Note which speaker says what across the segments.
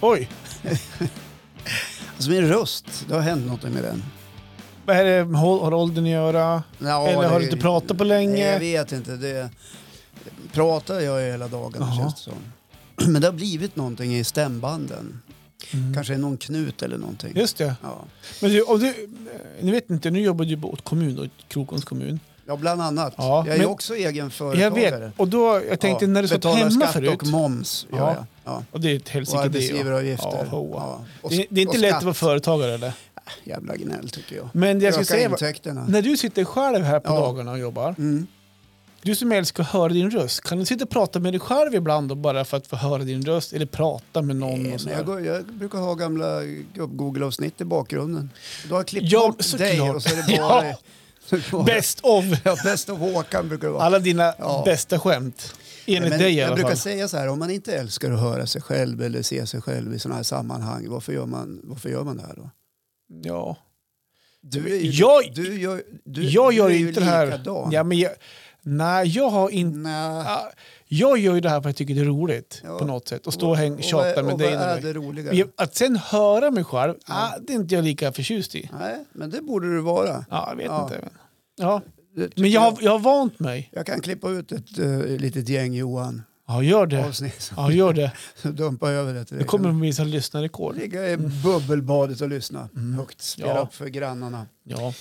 Speaker 1: Oj,
Speaker 2: Alltså min röst, det har hänt något med den.
Speaker 1: vad är det? Har har åldern att göra?
Speaker 2: Ja,
Speaker 1: Eller har
Speaker 2: det-
Speaker 1: du inte pratat på
Speaker 2: Nej,
Speaker 1: länge?
Speaker 2: jag vet inte. Det pratar jag ju hela dagen
Speaker 1: Jaha.
Speaker 2: känns det som. Men det har blivit någonting i stämbanden.
Speaker 1: Mm.
Speaker 2: Kanske någon knut eller någonting.
Speaker 1: Just det.
Speaker 2: Ja.
Speaker 1: Men du, om du, nu vet inte, nu jobbar du åt kommun, då, Krokoms kommun.
Speaker 2: ja, bland annat.
Speaker 1: Ja,
Speaker 2: jag är
Speaker 1: men-
Speaker 2: också egen företagare.
Speaker 1: Jag vet, och då, jag tänkte
Speaker 2: Ja,
Speaker 1: när du satt
Speaker 2: betalar
Speaker 1: hemma
Speaker 2: skatt
Speaker 1: förut.
Speaker 2: och moms gör
Speaker 1: Ja.
Speaker 2: jag. Ja.
Speaker 1: Och det är ett
Speaker 2: Och
Speaker 1: helsike det. ja.
Speaker 2: arbetsgivaravgifter.
Speaker 1: Ja, hoa.
Speaker 2: Och
Speaker 1: Det, det är inte
Speaker 2: och
Speaker 1: lätt
Speaker 2: skatt.
Speaker 1: att vara företagare eller?
Speaker 2: Jävla gnäll tycker jag.
Speaker 1: Men det jag
Speaker 2: Öka
Speaker 1: ska säga, var-
Speaker 2: intäkterna.
Speaker 1: när du sitter själv här på
Speaker 2: Ja.
Speaker 1: dagarna och jobbar,
Speaker 2: Mm.
Speaker 1: du som älskar att höra din röst, kan du sitta och prata med dig själv ibland och bara för att få höra din röst eller prata med någon?
Speaker 2: Nej,
Speaker 1: och
Speaker 2: Eh, men
Speaker 1: sådär?
Speaker 2: jag, går, jag brukar ha gamla gubb-Google-avsnitt i bakgrunden. Då har jag klippt
Speaker 1: Ja,
Speaker 2: bort
Speaker 1: såklart.
Speaker 2: dig och så är det bara...
Speaker 1: Ja.
Speaker 2: så är det bara-
Speaker 1: Best of
Speaker 2: Ja, bäst av Håkan brukar det vara.
Speaker 1: alla dina
Speaker 2: Ja.
Speaker 1: bästa skämt. Enligt
Speaker 2: Men
Speaker 1: dig i
Speaker 2: jag
Speaker 1: alla
Speaker 2: brukar
Speaker 1: fall.
Speaker 2: säga så här, om man inte älskar att höra sig själv eller se sig själv i sådana här sammanhang, varför gör man, varför gör man det här då?
Speaker 1: Ja.
Speaker 2: Du, är ju,
Speaker 1: Jag-
Speaker 2: du, gör, du,
Speaker 1: Jag gör
Speaker 2: du är
Speaker 1: ju
Speaker 2: ju
Speaker 1: inte det här...
Speaker 2: likadan.
Speaker 1: Ja, men jag, nej, jag har inte...
Speaker 2: Nej.
Speaker 1: Ah, Jag gör ju det här för att jag tycker det är roligt
Speaker 2: Ja.
Speaker 1: på något sätt. Och stå och häng,
Speaker 2: vad-
Speaker 1: tjata med
Speaker 2: och
Speaker 1: dig.
Speaker 2: Vad
Speaker 1: när
Speaker 2: är
Speaker 1: du-
Speaker 2: det roliga?
Speaker 1: Jag- Att sen höra mig själv, ah, det är inte jag lika förtjust i.
Speaker 2: Nej, men det borde du vara.
Speaker 1: Ja, jag vet
Speaker 2: Ja.
Speaker 1: inte. Men, ja.
Speaker 2: Det tycker
Speaker 1: men jag, har, jag har vant mig.
Speaker 2: jag kan klippa ut ett eh, litet gäng Johan-avsnitt
Speaker 1: Ja, gör det. Ja, gör det.
Speaker 2: så dumpar jag över det till
Speaker 1: Det
Speaker 2: dig.
Speaker 1: kommer att bli så här lyssnarrekord.
Speaker 2: Ligga i bubbelbadet och lyssna högt. Spela
Speaker 1: Mm. Ja.
Speaker 2: upp för grannarna.
Speaker 1: Ja.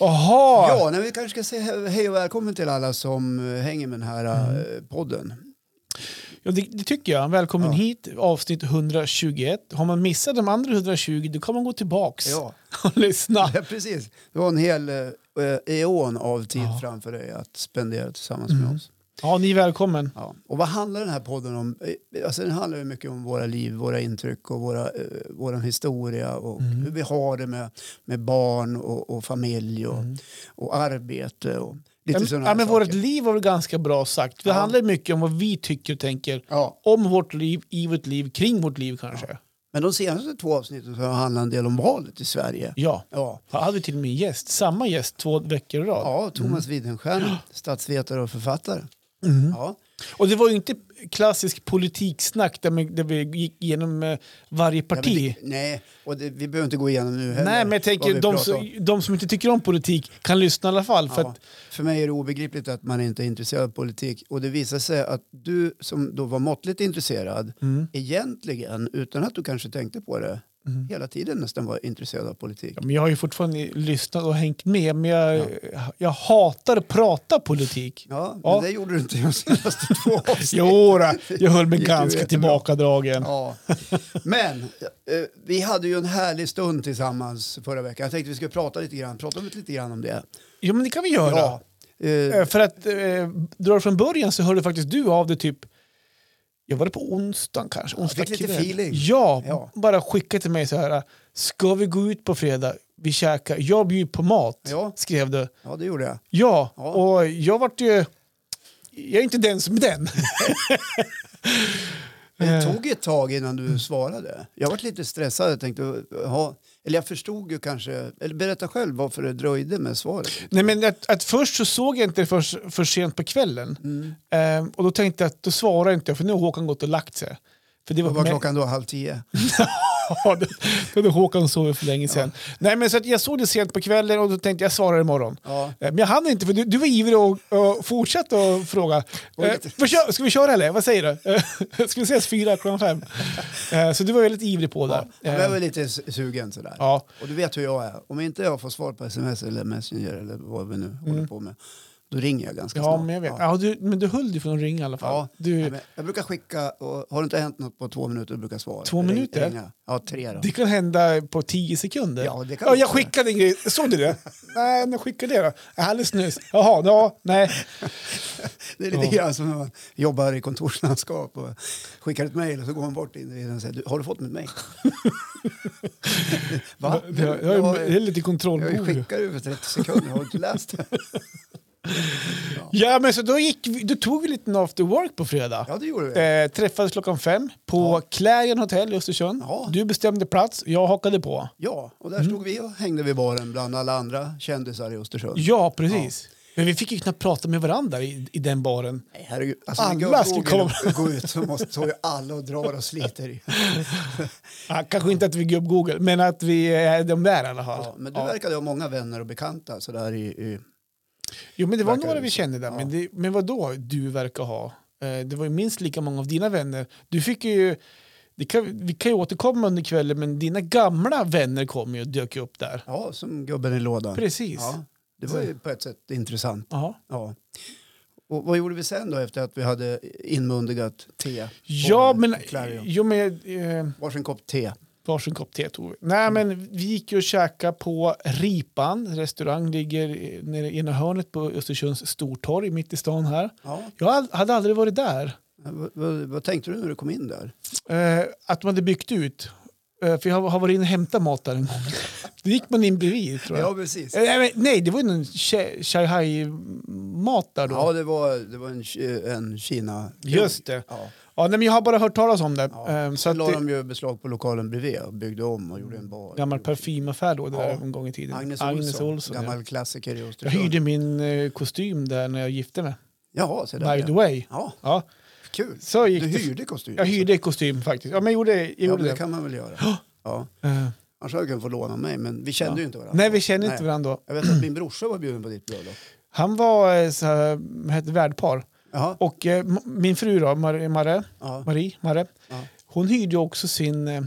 Speaker 1: Jaha!
Speaker 2: Ja, nej, vi kanske ska säga hej och välkommen till alla som eh, hänger med den här eh,
Speaker 1: Mm.
Speaker 2: podden.
Speaker 1: Ja, det, det tycker jag. Välkommen
Speaker 2: Ja.
Speaker 1: hit, avsnitt 121. Har man missat de andra 120, då kan man gå tillbaks
Speaker 2: Ja,
Speaker 1: och lyssna.
Speaker 2: precis. Du har en hel eh, eon av tid
Speaker 1: Ja.
Speaker 2: framför dig att spendera tillsammans
Speaker 1: Mm.
Speaker 2: med oss.
Speaker 1: Ja, ni är välkommen.
Speaker 2: Ja. Och vad handlar den här podden om? Eh, Alltså, den handlar ju mycket om våra liv, våra intryck och våra, eh, vår historia och
Speaker 1: Mm.
Speaker 2: hur vi har det med, med barn och, och familj och, och arbete och lite
Speaker 1: Mm. Ja, men-
Speaker 2: sådana
Speaker 1: ja,
Speaker 2: här
Speaker 1: men
Speaker 2: saker.
Speaker 1: vårt liv var väl ganska bra sagt. Det
Speaker 2: Ja.
Speaker 1: handlar mycket om vad vi tycker och tänker
Speaker 2: Ja.
Speaker 1: om vårt liv, i vårt liv, kring vårt liv kanske.
Speaker 2: Men de senaste två avsnitten så har det handlat en del om valet i Sverige.
Speaker 1: Ja.
Speaker 2: Ja.
Speaker 1: Jag hade till och med en gäst, samma gäst två veckor i rad.
Speaker 2: Ja, Thomas Widenstierna, statsvetare och författare.
Speaker 1: Mm.
Speaker 2: Ja.
Speaker 1: Och det var ju inte klassisk politiksnack där vi, där vi gick igenom eh, varje
Speaker 2: Ja,
Speaker 1: parti.
Speaker 2: men det, nej, och det, vi behöver inte gå igenom nu heller.
Speaker 1: Nej, men jag
Speaker 2: vad
Speaker 1: tänker
Speaker 2: vi
Speaker 1: de
Speaker 2: pratar om.
Speaker 1: som, de som inte tycker om politik kan lyssna i alla fall. För
Speaker 2: Ja,
Speaker 1: att,
Speaker 2: för mig är det obegripligt att man inte är intresserad av politik. Och det visar sig att du som då var måttligt intresserad,
Speaker 1: mm.
Speaker 2: egentligen, utan att du kanske tänkte på det,
Speaker 1: Mm.
Speaker 2: hela tiden nästan var intresserad av politik.
Speaker 1: ja, men jag har ju fortfarande lyssnat och hängt med, men jag, jag hatar att prata politik.
Speaker 2: Ja, men
Speaker 1: Ja.
Speaker 2: det gjorde du inte i de senaste två avsnitten.
Speaker 1: Jo, då, jag höll mig
Speaker 2: Gick ju
Speaker 1: ganska
Speaker 2: jättebra.
Speaker 1: tillbakadragen.
Speaker 2: Ja. Men eh, vi hade ju en härlig stund tillsammans förra veckan. Jag tänkte vi skulle prata lite grann, prata om- lite grann om det.
Speaker 1: Jo, men det kan vi göra.
Speaker 2: Eh,
Speaker 1: Eh, För att eh, dra från början så hörde faktiskt du av dig typ jag var det på onsdagen kanske. Onsdag
Speaker 2: fick lite
Speaker 1: kväll.
Speaker 2: feeling.
Speaker 1: Ja,
Speaker 2: Ja.
Speaker 1: bara skicka till mig så här. Ska vi gå ut på fredag? Vi käkar. Jag bjuder på mat,
Speaker 2: Ja.
Speaker 1: skrev du.
Speaker 2: Ja, det gjorde jag.
Speaker 1: Ja,
Speaker 2: Ja.
Speaker 1: och jag vart ju... Jag är inte den som är den.
Speaker 2: Det
Speaker 1: Eh.
Speaker 2: tog ett tag innan du svarade. Jag var lite stressad. Jag tänkte, ja, eller jag förstod ju kanske, eller berätta själv varför det dröjde med svaret.
Speaker 1: Nej, men att, att först så såg jag inte det för, för sent på kvällen.
Speaker 2: Mm.
Speaker 1: Ehm, och då tänkte jag att då svarar inte jag för nu har Håkan gått och lagt sig. För det var,
Speaker 2: Vad var
Speaker 1: men-
Speaker 2: klockan då? Halv tio?
Speaker 1: Ja, det- det hade Håkan sovit för länge sedan. Nej, men så att jag såg det sent på kvällen och då tänkte jag svarar imorgon.
Speaker 2: Ja.
Speaker 1: Eh, Men jag hann inte för du, du var ivrig och, och fortsatte att fråga.
Speaker 2: Oj.
Speaker 1: Eh, försö- ska vi köra eller? Vad säger du? Eh, ska vi ses fyra, klockan fem? Eh, så du var väldigt ivrig på det.
Speaker 2: Ja,
Speaker 1: Eh,
Speaker 2: Jag var lite s- sugen sådär.
Speaker 1: ja.
Speaker 2: Och du vet hur jag är. Om inte jag får svar på sms eller messenger eller vad vi nu håller på med, då ringer jag ganska
Speaker 1: Mm. ja,
Speaker 2: snart.
Speaker 1: men jag vet. Ja, du, men du höll dig från att ringa i alla fall.
Speaker 2: Ja,
Speaker 1: du,
Speaker 2: nej, men jag brukar skicka, och har det inte hänt något på två minuter då brukar jag svara.
Speaker 1: Två
Speaker 2: Ring-
Speaker 1: minuter?
Speaker 2: Ringa. Ja, tre då.
Speaker 1: Det kan hända på tio sekunder.
Speaker 2: Ja, det kan
Speaker 1: ja, jag
Speaker 2: också.
Speaker 1: skickade en grej. Såg du det? nej, men skicka det då. Alldeles nyss. Jaha, ja, nej.
Speaker 2: Det är lite
Speaker 1: Ja.
Speaker 2: grann som när man jobbar i kontorslandskap och skickar ett mejl och så går man bort in och säger du, har du fått mitt mejl? Va?
Speaker 1: Det, jag, jag,
Speaker 2: jag,
Speaker 1: är- det är lite
Speaker 2: jag,
Speaker 1: kontrollbehov.
Speaker 2: skickade ju för 30 sekunder, har du inte läst det?
Speaker 1: Ja, men så då, gick vi, då tog vi lite after work på fredag.
Speaker 2: Ja, det gjorde vi.
Speaker 1: Eh, träffades klockan fem på Clarion Hotel i Östersund.
Speaker 2: Ja.
Speaker 1: Du bestämde plats, jag hakade på. Mm.
Speaker 2: Ja, och där stod vi och hängde vid baren bland alla andra kändisar i Östersund.
Speaker 1: Ja, precis. Men vi fick ju knappt prata med varandra i, i den baren.
Speaker 2: Nej, herregud. Alltså,
Speaker 1: Alla
Speaker 2: när jag
Speaker 1: skulle
Speaker 2: går
Speaker 1: komma.
Speaker 2: och Går ut så måste så ju alla och drar och sliter. i.
Speaker 1: Ja, Ah, kanske inte att vi gick upp Google, men att vi eh, är de där i alla fall.
Speaker 2: Ja, men du
Speaker 1: Ja.
Speaker 2: verkade ha många vänner och bekanta sådär i... i
Speaker 1: Jo, men det var
Speaker 2: verkar
Speaker 1: några
Speaker 2: det
Speaker 1: vi
Speaker 2: så.
Speaker 1: kände där. Men,
Speaker 2: Ja.
Speaker 1: det, men vad då du verkar ha? Eh, Det var ju minst lika många av dina vänner. Du fick ju, det kan, vi kan ju återkomma under kvällen, men dina gamla vänner kom ju och dök upp där.
Speaker 2: ja, som gubben i lådan.
Speaker 1: Precis.
Speaker 2: Ja, det var ju på ett sätt intressant.
Speaker 1: Jaha.
Speaker 2: Ja. Och vad gjorde vi sen då efter att vi hade inmundigat te? på
Speaker 1: Ja, men,
Speaker 2: Clarion?
Speaker 1: jo, men eh,
Speaker 2: Varsin kopp te.
Speaker 1: varsin kopp te tog vi. Nej, men vi gick ju och käkade på Ripan. Restaurang ligger eh, nere i ena hörnet på Östersunds stortorg, mitt i stan här.
Speaker 2: Ja.
Speaker 1: Jag hade- hade aldrig varit där.
Speaker 2: Vad, vad, vad tänkte du när du kom in där?
Speaker 1: Eh, att de hade byggt ut. Eh, för jag har, har varit inne och hämtat mat där en gång. Då gick man in bredvid tror jag.
Speaker 2: precis.
Speaker 1: Eh, nej, men, nej, det var ju någon Sha- Shanghai-mat där då.
Speaker 2: Ja, det var, det var en, Ki- en Kina...
Speaker 1: Just det.
Speaker 2: Ja.
Speaker 1: Ja, nej, men jag har bara hört talas om det.
Speaker 2: Ja.
Speaker 1: Eh, så
Speaker 2: Sen
Speaker 1: att
Speaker 2: la
Speaker 1: det
Speaker 2: de ju beslag på lokalen bredvid och byggde om och gjorde en bar.
Speaker 1: gammal parfymaffär då, det där
Speaker 2: Ja.
Speaker 1: en gång i tiden.
Speaker 2: Agnes Olsson,
Speaker 1: ja.
Speaker 2: gammal klassiker i
Speaker 1: Jag
Speaker 2: Östersund.
Speaker 1: hyrde min eh, kostym där när jag gifte mig.
Speaker 2: Jaha, så där.
Speaker 1: By the
Speaker 2: ja.
Speaker 1: way.
Speaker 2: Ja,
Speaker 1: Ja,
Speaker 2: kul.
Speaker 1: så gick
Speaker 2: Du
Speaker 1: det.
Speaker 2: hyrde kostym?
Speaker 1: Jag hyrde kostym faktiskt. Ja, men jag gjorde, jag
Speaker 2: Ja,
Speaker 1: gjorde
Speaker 2: men det
Speaker 1: det.
Speaker 2: kan man väl göra. Ja.
Speaker 1: Eh,
Speaker 2: Annars hade du kunnat få låna mig, men vi kände
Speaker 1: Ja.
Speaker 2: ju inte varandra.
Speaker 1: nej, vi känner inte
Speaker 2: Nej.
Speaker 1: varandra då.
Speaker 2: Jag vet att min brorsa var bjuden på ditt bröllop.
Speaker 1: Han var eh, så här, vad heter det, värdpar.
Speaker 2: Jaha.
Speaker 1: Och eh, m- min fru då, Mar- Marre,
Speaker 2: Ja.
Speaker 1: Marie, Marre,
Speaker 2: Ja.
Speaker 1: hon hyrde ju också sin eh,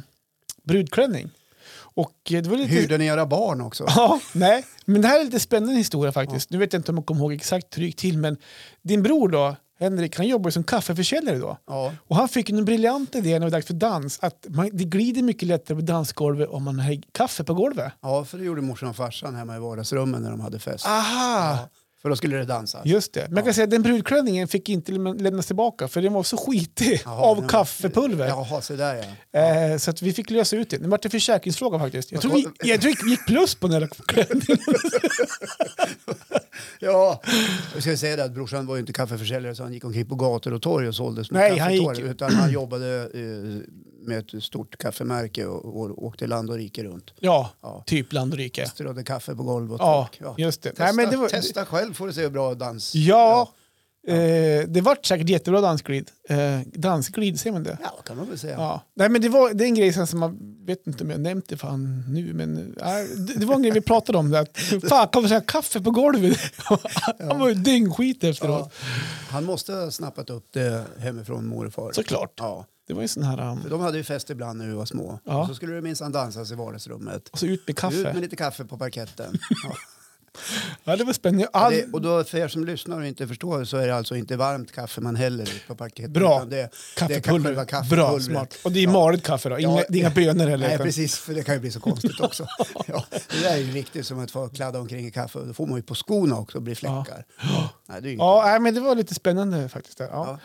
Speaker 1: brudklänning. Och eh, det var lite...
Speaker 2: Hyrde ni era barn också?
Speaker 1: Ja, nej. Men det här är lite spännande historia faktiskt. Nu vet jag inte om jag kommer ihåg exakt hur det gick till, men din bror då, Henrik, han jobbar ju som kaffeförsäljare då.
Speaker 2: Ja.
Speaker 1: Och han fick en briljant idé när det var dags för dans, att man, det glider mycket lättare på dansgolvet om man har kaffe på golvet.
Speaker 2: ja, för det gjorde morsan och farsan hemma i vardagsrummen när de hade fest.
Speaker 1: Ah. Aha!
Speaker 2: För då skulle det dansas.
Speaker 1: Just det. Men jag kan säga att den brudklänningen fick inte lämna- lämnas tillbaka för den var så skitig
Speaker 2: Jaha,
Speaker 1: av
Speaker 2: den var-
Speaker 1: kaffepulver.
Speaker 2: Jaha, så där ja.
Speaker 1: Eh, så att vi fick lösa ut det. Det var en försäkringsfråga faktiskt. Jag tror vi, jag tror vi gick plus på den här klänningen.
Speaker 2: Ja, jag ska säga det att brorsan var ju inte kaffeförsäljare så han gick omkring på gator och torg och sålde små
Speaker 1: Nej, han
Speaker 2: kaffetårtor.
Speaker 1: gick-
Speaker 2: Utan han jobbade eh, med ett stort kaffemärke och, och åkte land och rike runt.
Speaker 1: Ja,
Speaker 2: Ja.
Speaker 1: typ land och rike.
Speaker 2: Strödde kaffe på golv och
Speaker 1: Ja,
Speaker 2: tak. Ja.
Speaker 1: just det.
Speaker 2: Testa,
Speaker 1: Nej, men det var,
Speaker 2: testa själv får du se hur bra dans...
Speaker 1: ja, Eh, det vart säkert jättebra dansglid. Eh, dansglid, säger man det?
Speaker 2: ja, kan man väl säga.
Speaker 1: Ja. Nej, men det, var, det är en grej sen som man vet inte om jag nämnt det fan nu, men eh, det, det var en grej vi pratade om. Där. Fan, kommer så här kaffe på golvet? Han var ju dyngskit efteråt.
Speaker 2: Han måste ha snappat upp det hemifrån mor och far.
Speaker 1: Såklart.
Speaker 2: Ja,
Speaker 1: Det var ju sån här... Um,
Speaker 2: för de hade ju fest ibland när vi var små.
Speaker 1: Ja.
Speaker 2: Och så skulle det minsann dansas i vardagsrummet.
Speaker 1: och så ut med
Speaker 2: Ut med
Speaker 1: kaffe.
Speaker 2: lite kaffe på parketten. Ja.
Speaker 1: Ja, det var spännande. Jag har ald-
Speaker 2: Det, och då för er som lyssnar och inte förstår så är det alltså inte varmt kaffe man häller ut på parketten.
Speaker 1: Bra.
Speaker 2: utan Det,
Speaker 1: Kaffepulver.
Speaker 2: själva kaffepulvret.
Speaker 1: Bra, smart. Och det är
Speaker 2: Ja.
Speaker 1: malet kaffe då? Inga,
Speaker 2: Ja.
Speaker 1: Det är inga bönor heller?
Speaker 2: Nej,
Speaker 1: utan-
Speaker 2: precis, för det kan ju bli så konstigt också. ja, det där är ju riktigt som att få kladda omkring i kaffe. Då får man ju på skorna också och blir fläckar. Ja. Nej, det är ju ja.
Speaker 1: Ja, nej, men det var lite spännande faktiskt. Där. Ja,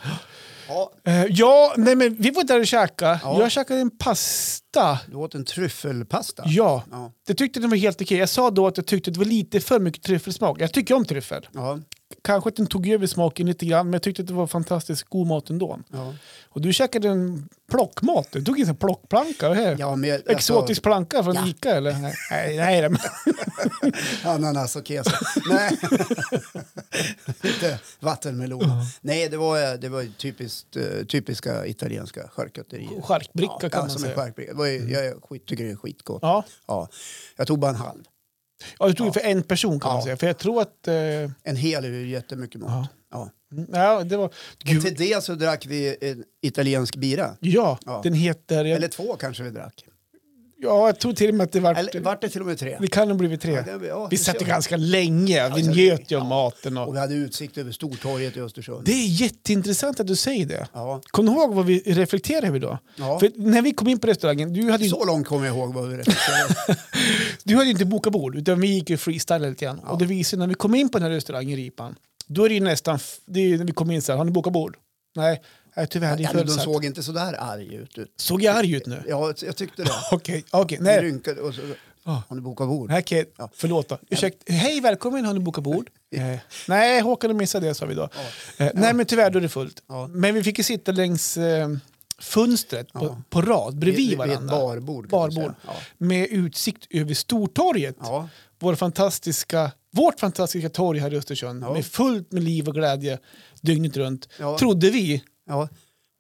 Speaker 2: Ja,
Speaker 1: ja. ja nej, men vi var där och käkade.
Speaker 2: Ja.
Speaker 1: Jag käkade en pasta.
Speaker 2: du åt en tryffelpasta.
Speaker 1: Ja,
Speaker 2: Ja.
Speaker 1: det tyckte den var helt okej. Jag sa då att jag tyckte det var lite för mycket tryffelsmak. Jag tycker om tryffel.
Speaker 2: Ja,
Speaker 1: Kanske att den tog över smaken lite grann, men jag tyckte att det var fantastiskt god mat ändå.
Speaker 2: ja.
Speaker 1: Och du käkade en plockmat. Du tog en sån här plockplanka. vad är det?
Speaker 2: ja men, alltså,
Speaker 1: Exotisk planka från
Speaker 2: Ja.
Speaker 1: Ica eller? Nej, nej, nej men-
Speaker 2: Ananas och keso. alltså, Nej. Lite vattenmelon. Nej, det var, det var ju typiskt, eh, typiska italienska charkuterier.
Speaker 1: Charkbricka
Speaker 2: ja,
Speaker 1: kan
Speaker 2: ja,
Speaker 1: man
Speaker 2: som
Speaker 1: säga. Mm.
Speaker 2: En charkbricka. Det var ju, jag skit, tycker det är skitgott. Ja.
Speaker 1: Ja.
Speaker 2: Jag tog bara en halv.
Speaker 1: Ja, du tog ju för en person kan
Speaker 2: Ja.
Speaker 1: man säga. För jag tror att... Eh,
Speaker 2: En hel är ju jättemycket mat.
Speaker 1: Ja.
Speaker 2: Ja.
Speaker 1: ja, det var...
Speaker 2: Och
Speaker 1: Gud,
Speaker 2: till det så drack vi en italiensk bira.
Speaker 1: ja,
Speaker 2: Ja.
Speaker 1: den heter... Jag,
Speaker 2: Eller två kanske vi drack.
Speaker 1: ja, jag tror till och med att det var...
Speaker 2: Eller vart det till och med tre?
Speaker 1: Det kan ha blivit
Speaker 2: Ja,
Speaker 1: tre.
Speaker 2: det- ja,
Speaker 1: Vi
Speaker 2: det
Speaker 1: satt ju
Speaker 2: ser-
Speaker 1: ganska länge. Vi
Speaker 2: så-
Speaker 1: njöt ju av
Speaker 2: ja.
Speaker 1: maten. Och,
Speaker 2: Och vi hade utsikt över Stortorget i Östersund.
Speaker 1: det är jätteintressant att du säger det.
Speaker 2: Ja.
Speaker 1: Kom du ihåg vad vi reflekterade över då?
Speaker 2: Ja.
Speaker 1: För när vi kom in på restaurangen, du hade ju,
Speaker 2: Så långt kommer jag ihåg vad vi reflekterade.
Speaker 1: du hade ju inte bokat bord, utan vi gick ju freestyle lite grann. Och det visade när vi kom in på den här restaurangen Ripan, då är det ju nästan, f- det är ju när vi kom in så här, har ni bokat bord? Nej, nej tyvärr, det är
Speaker 2: ja, men de
Speaker 1: fullsatt. Såg...
Speaker 2: såg inte så där arg ut. ut.
Speaker 1: jag arg ut nu?
Speaker 2: Ja, jag tyckte det.
Speaker 1: Okej, okej,
Speaker 2: Nej.
Speaker 1: nej.
Speaker 2: Rynkade och så, har ni bokat bord?
Speaker 1: Nej, okej.
Speaker 2: Ja.
Speaker 1: Förlåt då. Ursäkta. Hej, välkommen. Har ni bokat bord? Eh, nej, Håkan och missade det, sa vi då. Eh, nej, men tyvärr, då är det fullt.
Speaker 2: Ja.
Speaker 1: Men vi fick ju sitta längs eh, fönstret på, på rad,
Speaker 2: Vid-
Speaker 1: bredvid
Speaker 2: vid
Speaker 1: varandra.
Speaker 2: ett barbord. kan man
Speaker 1: Barbord.
Speaker 2: säga.
Speaker 1: Med utsikt över Stortorget.
Speaker 2: Ja.
Speaker 1: Vår fantastiska Vårt fantastiska torg här i Östersund
Speaker 2: Ja.
Speaker 1: med fullt med liv och glädje dygnet runt.
Speaker 2: Ja.
Speaker 1: Trodde vi.
Speaker 2: Ja.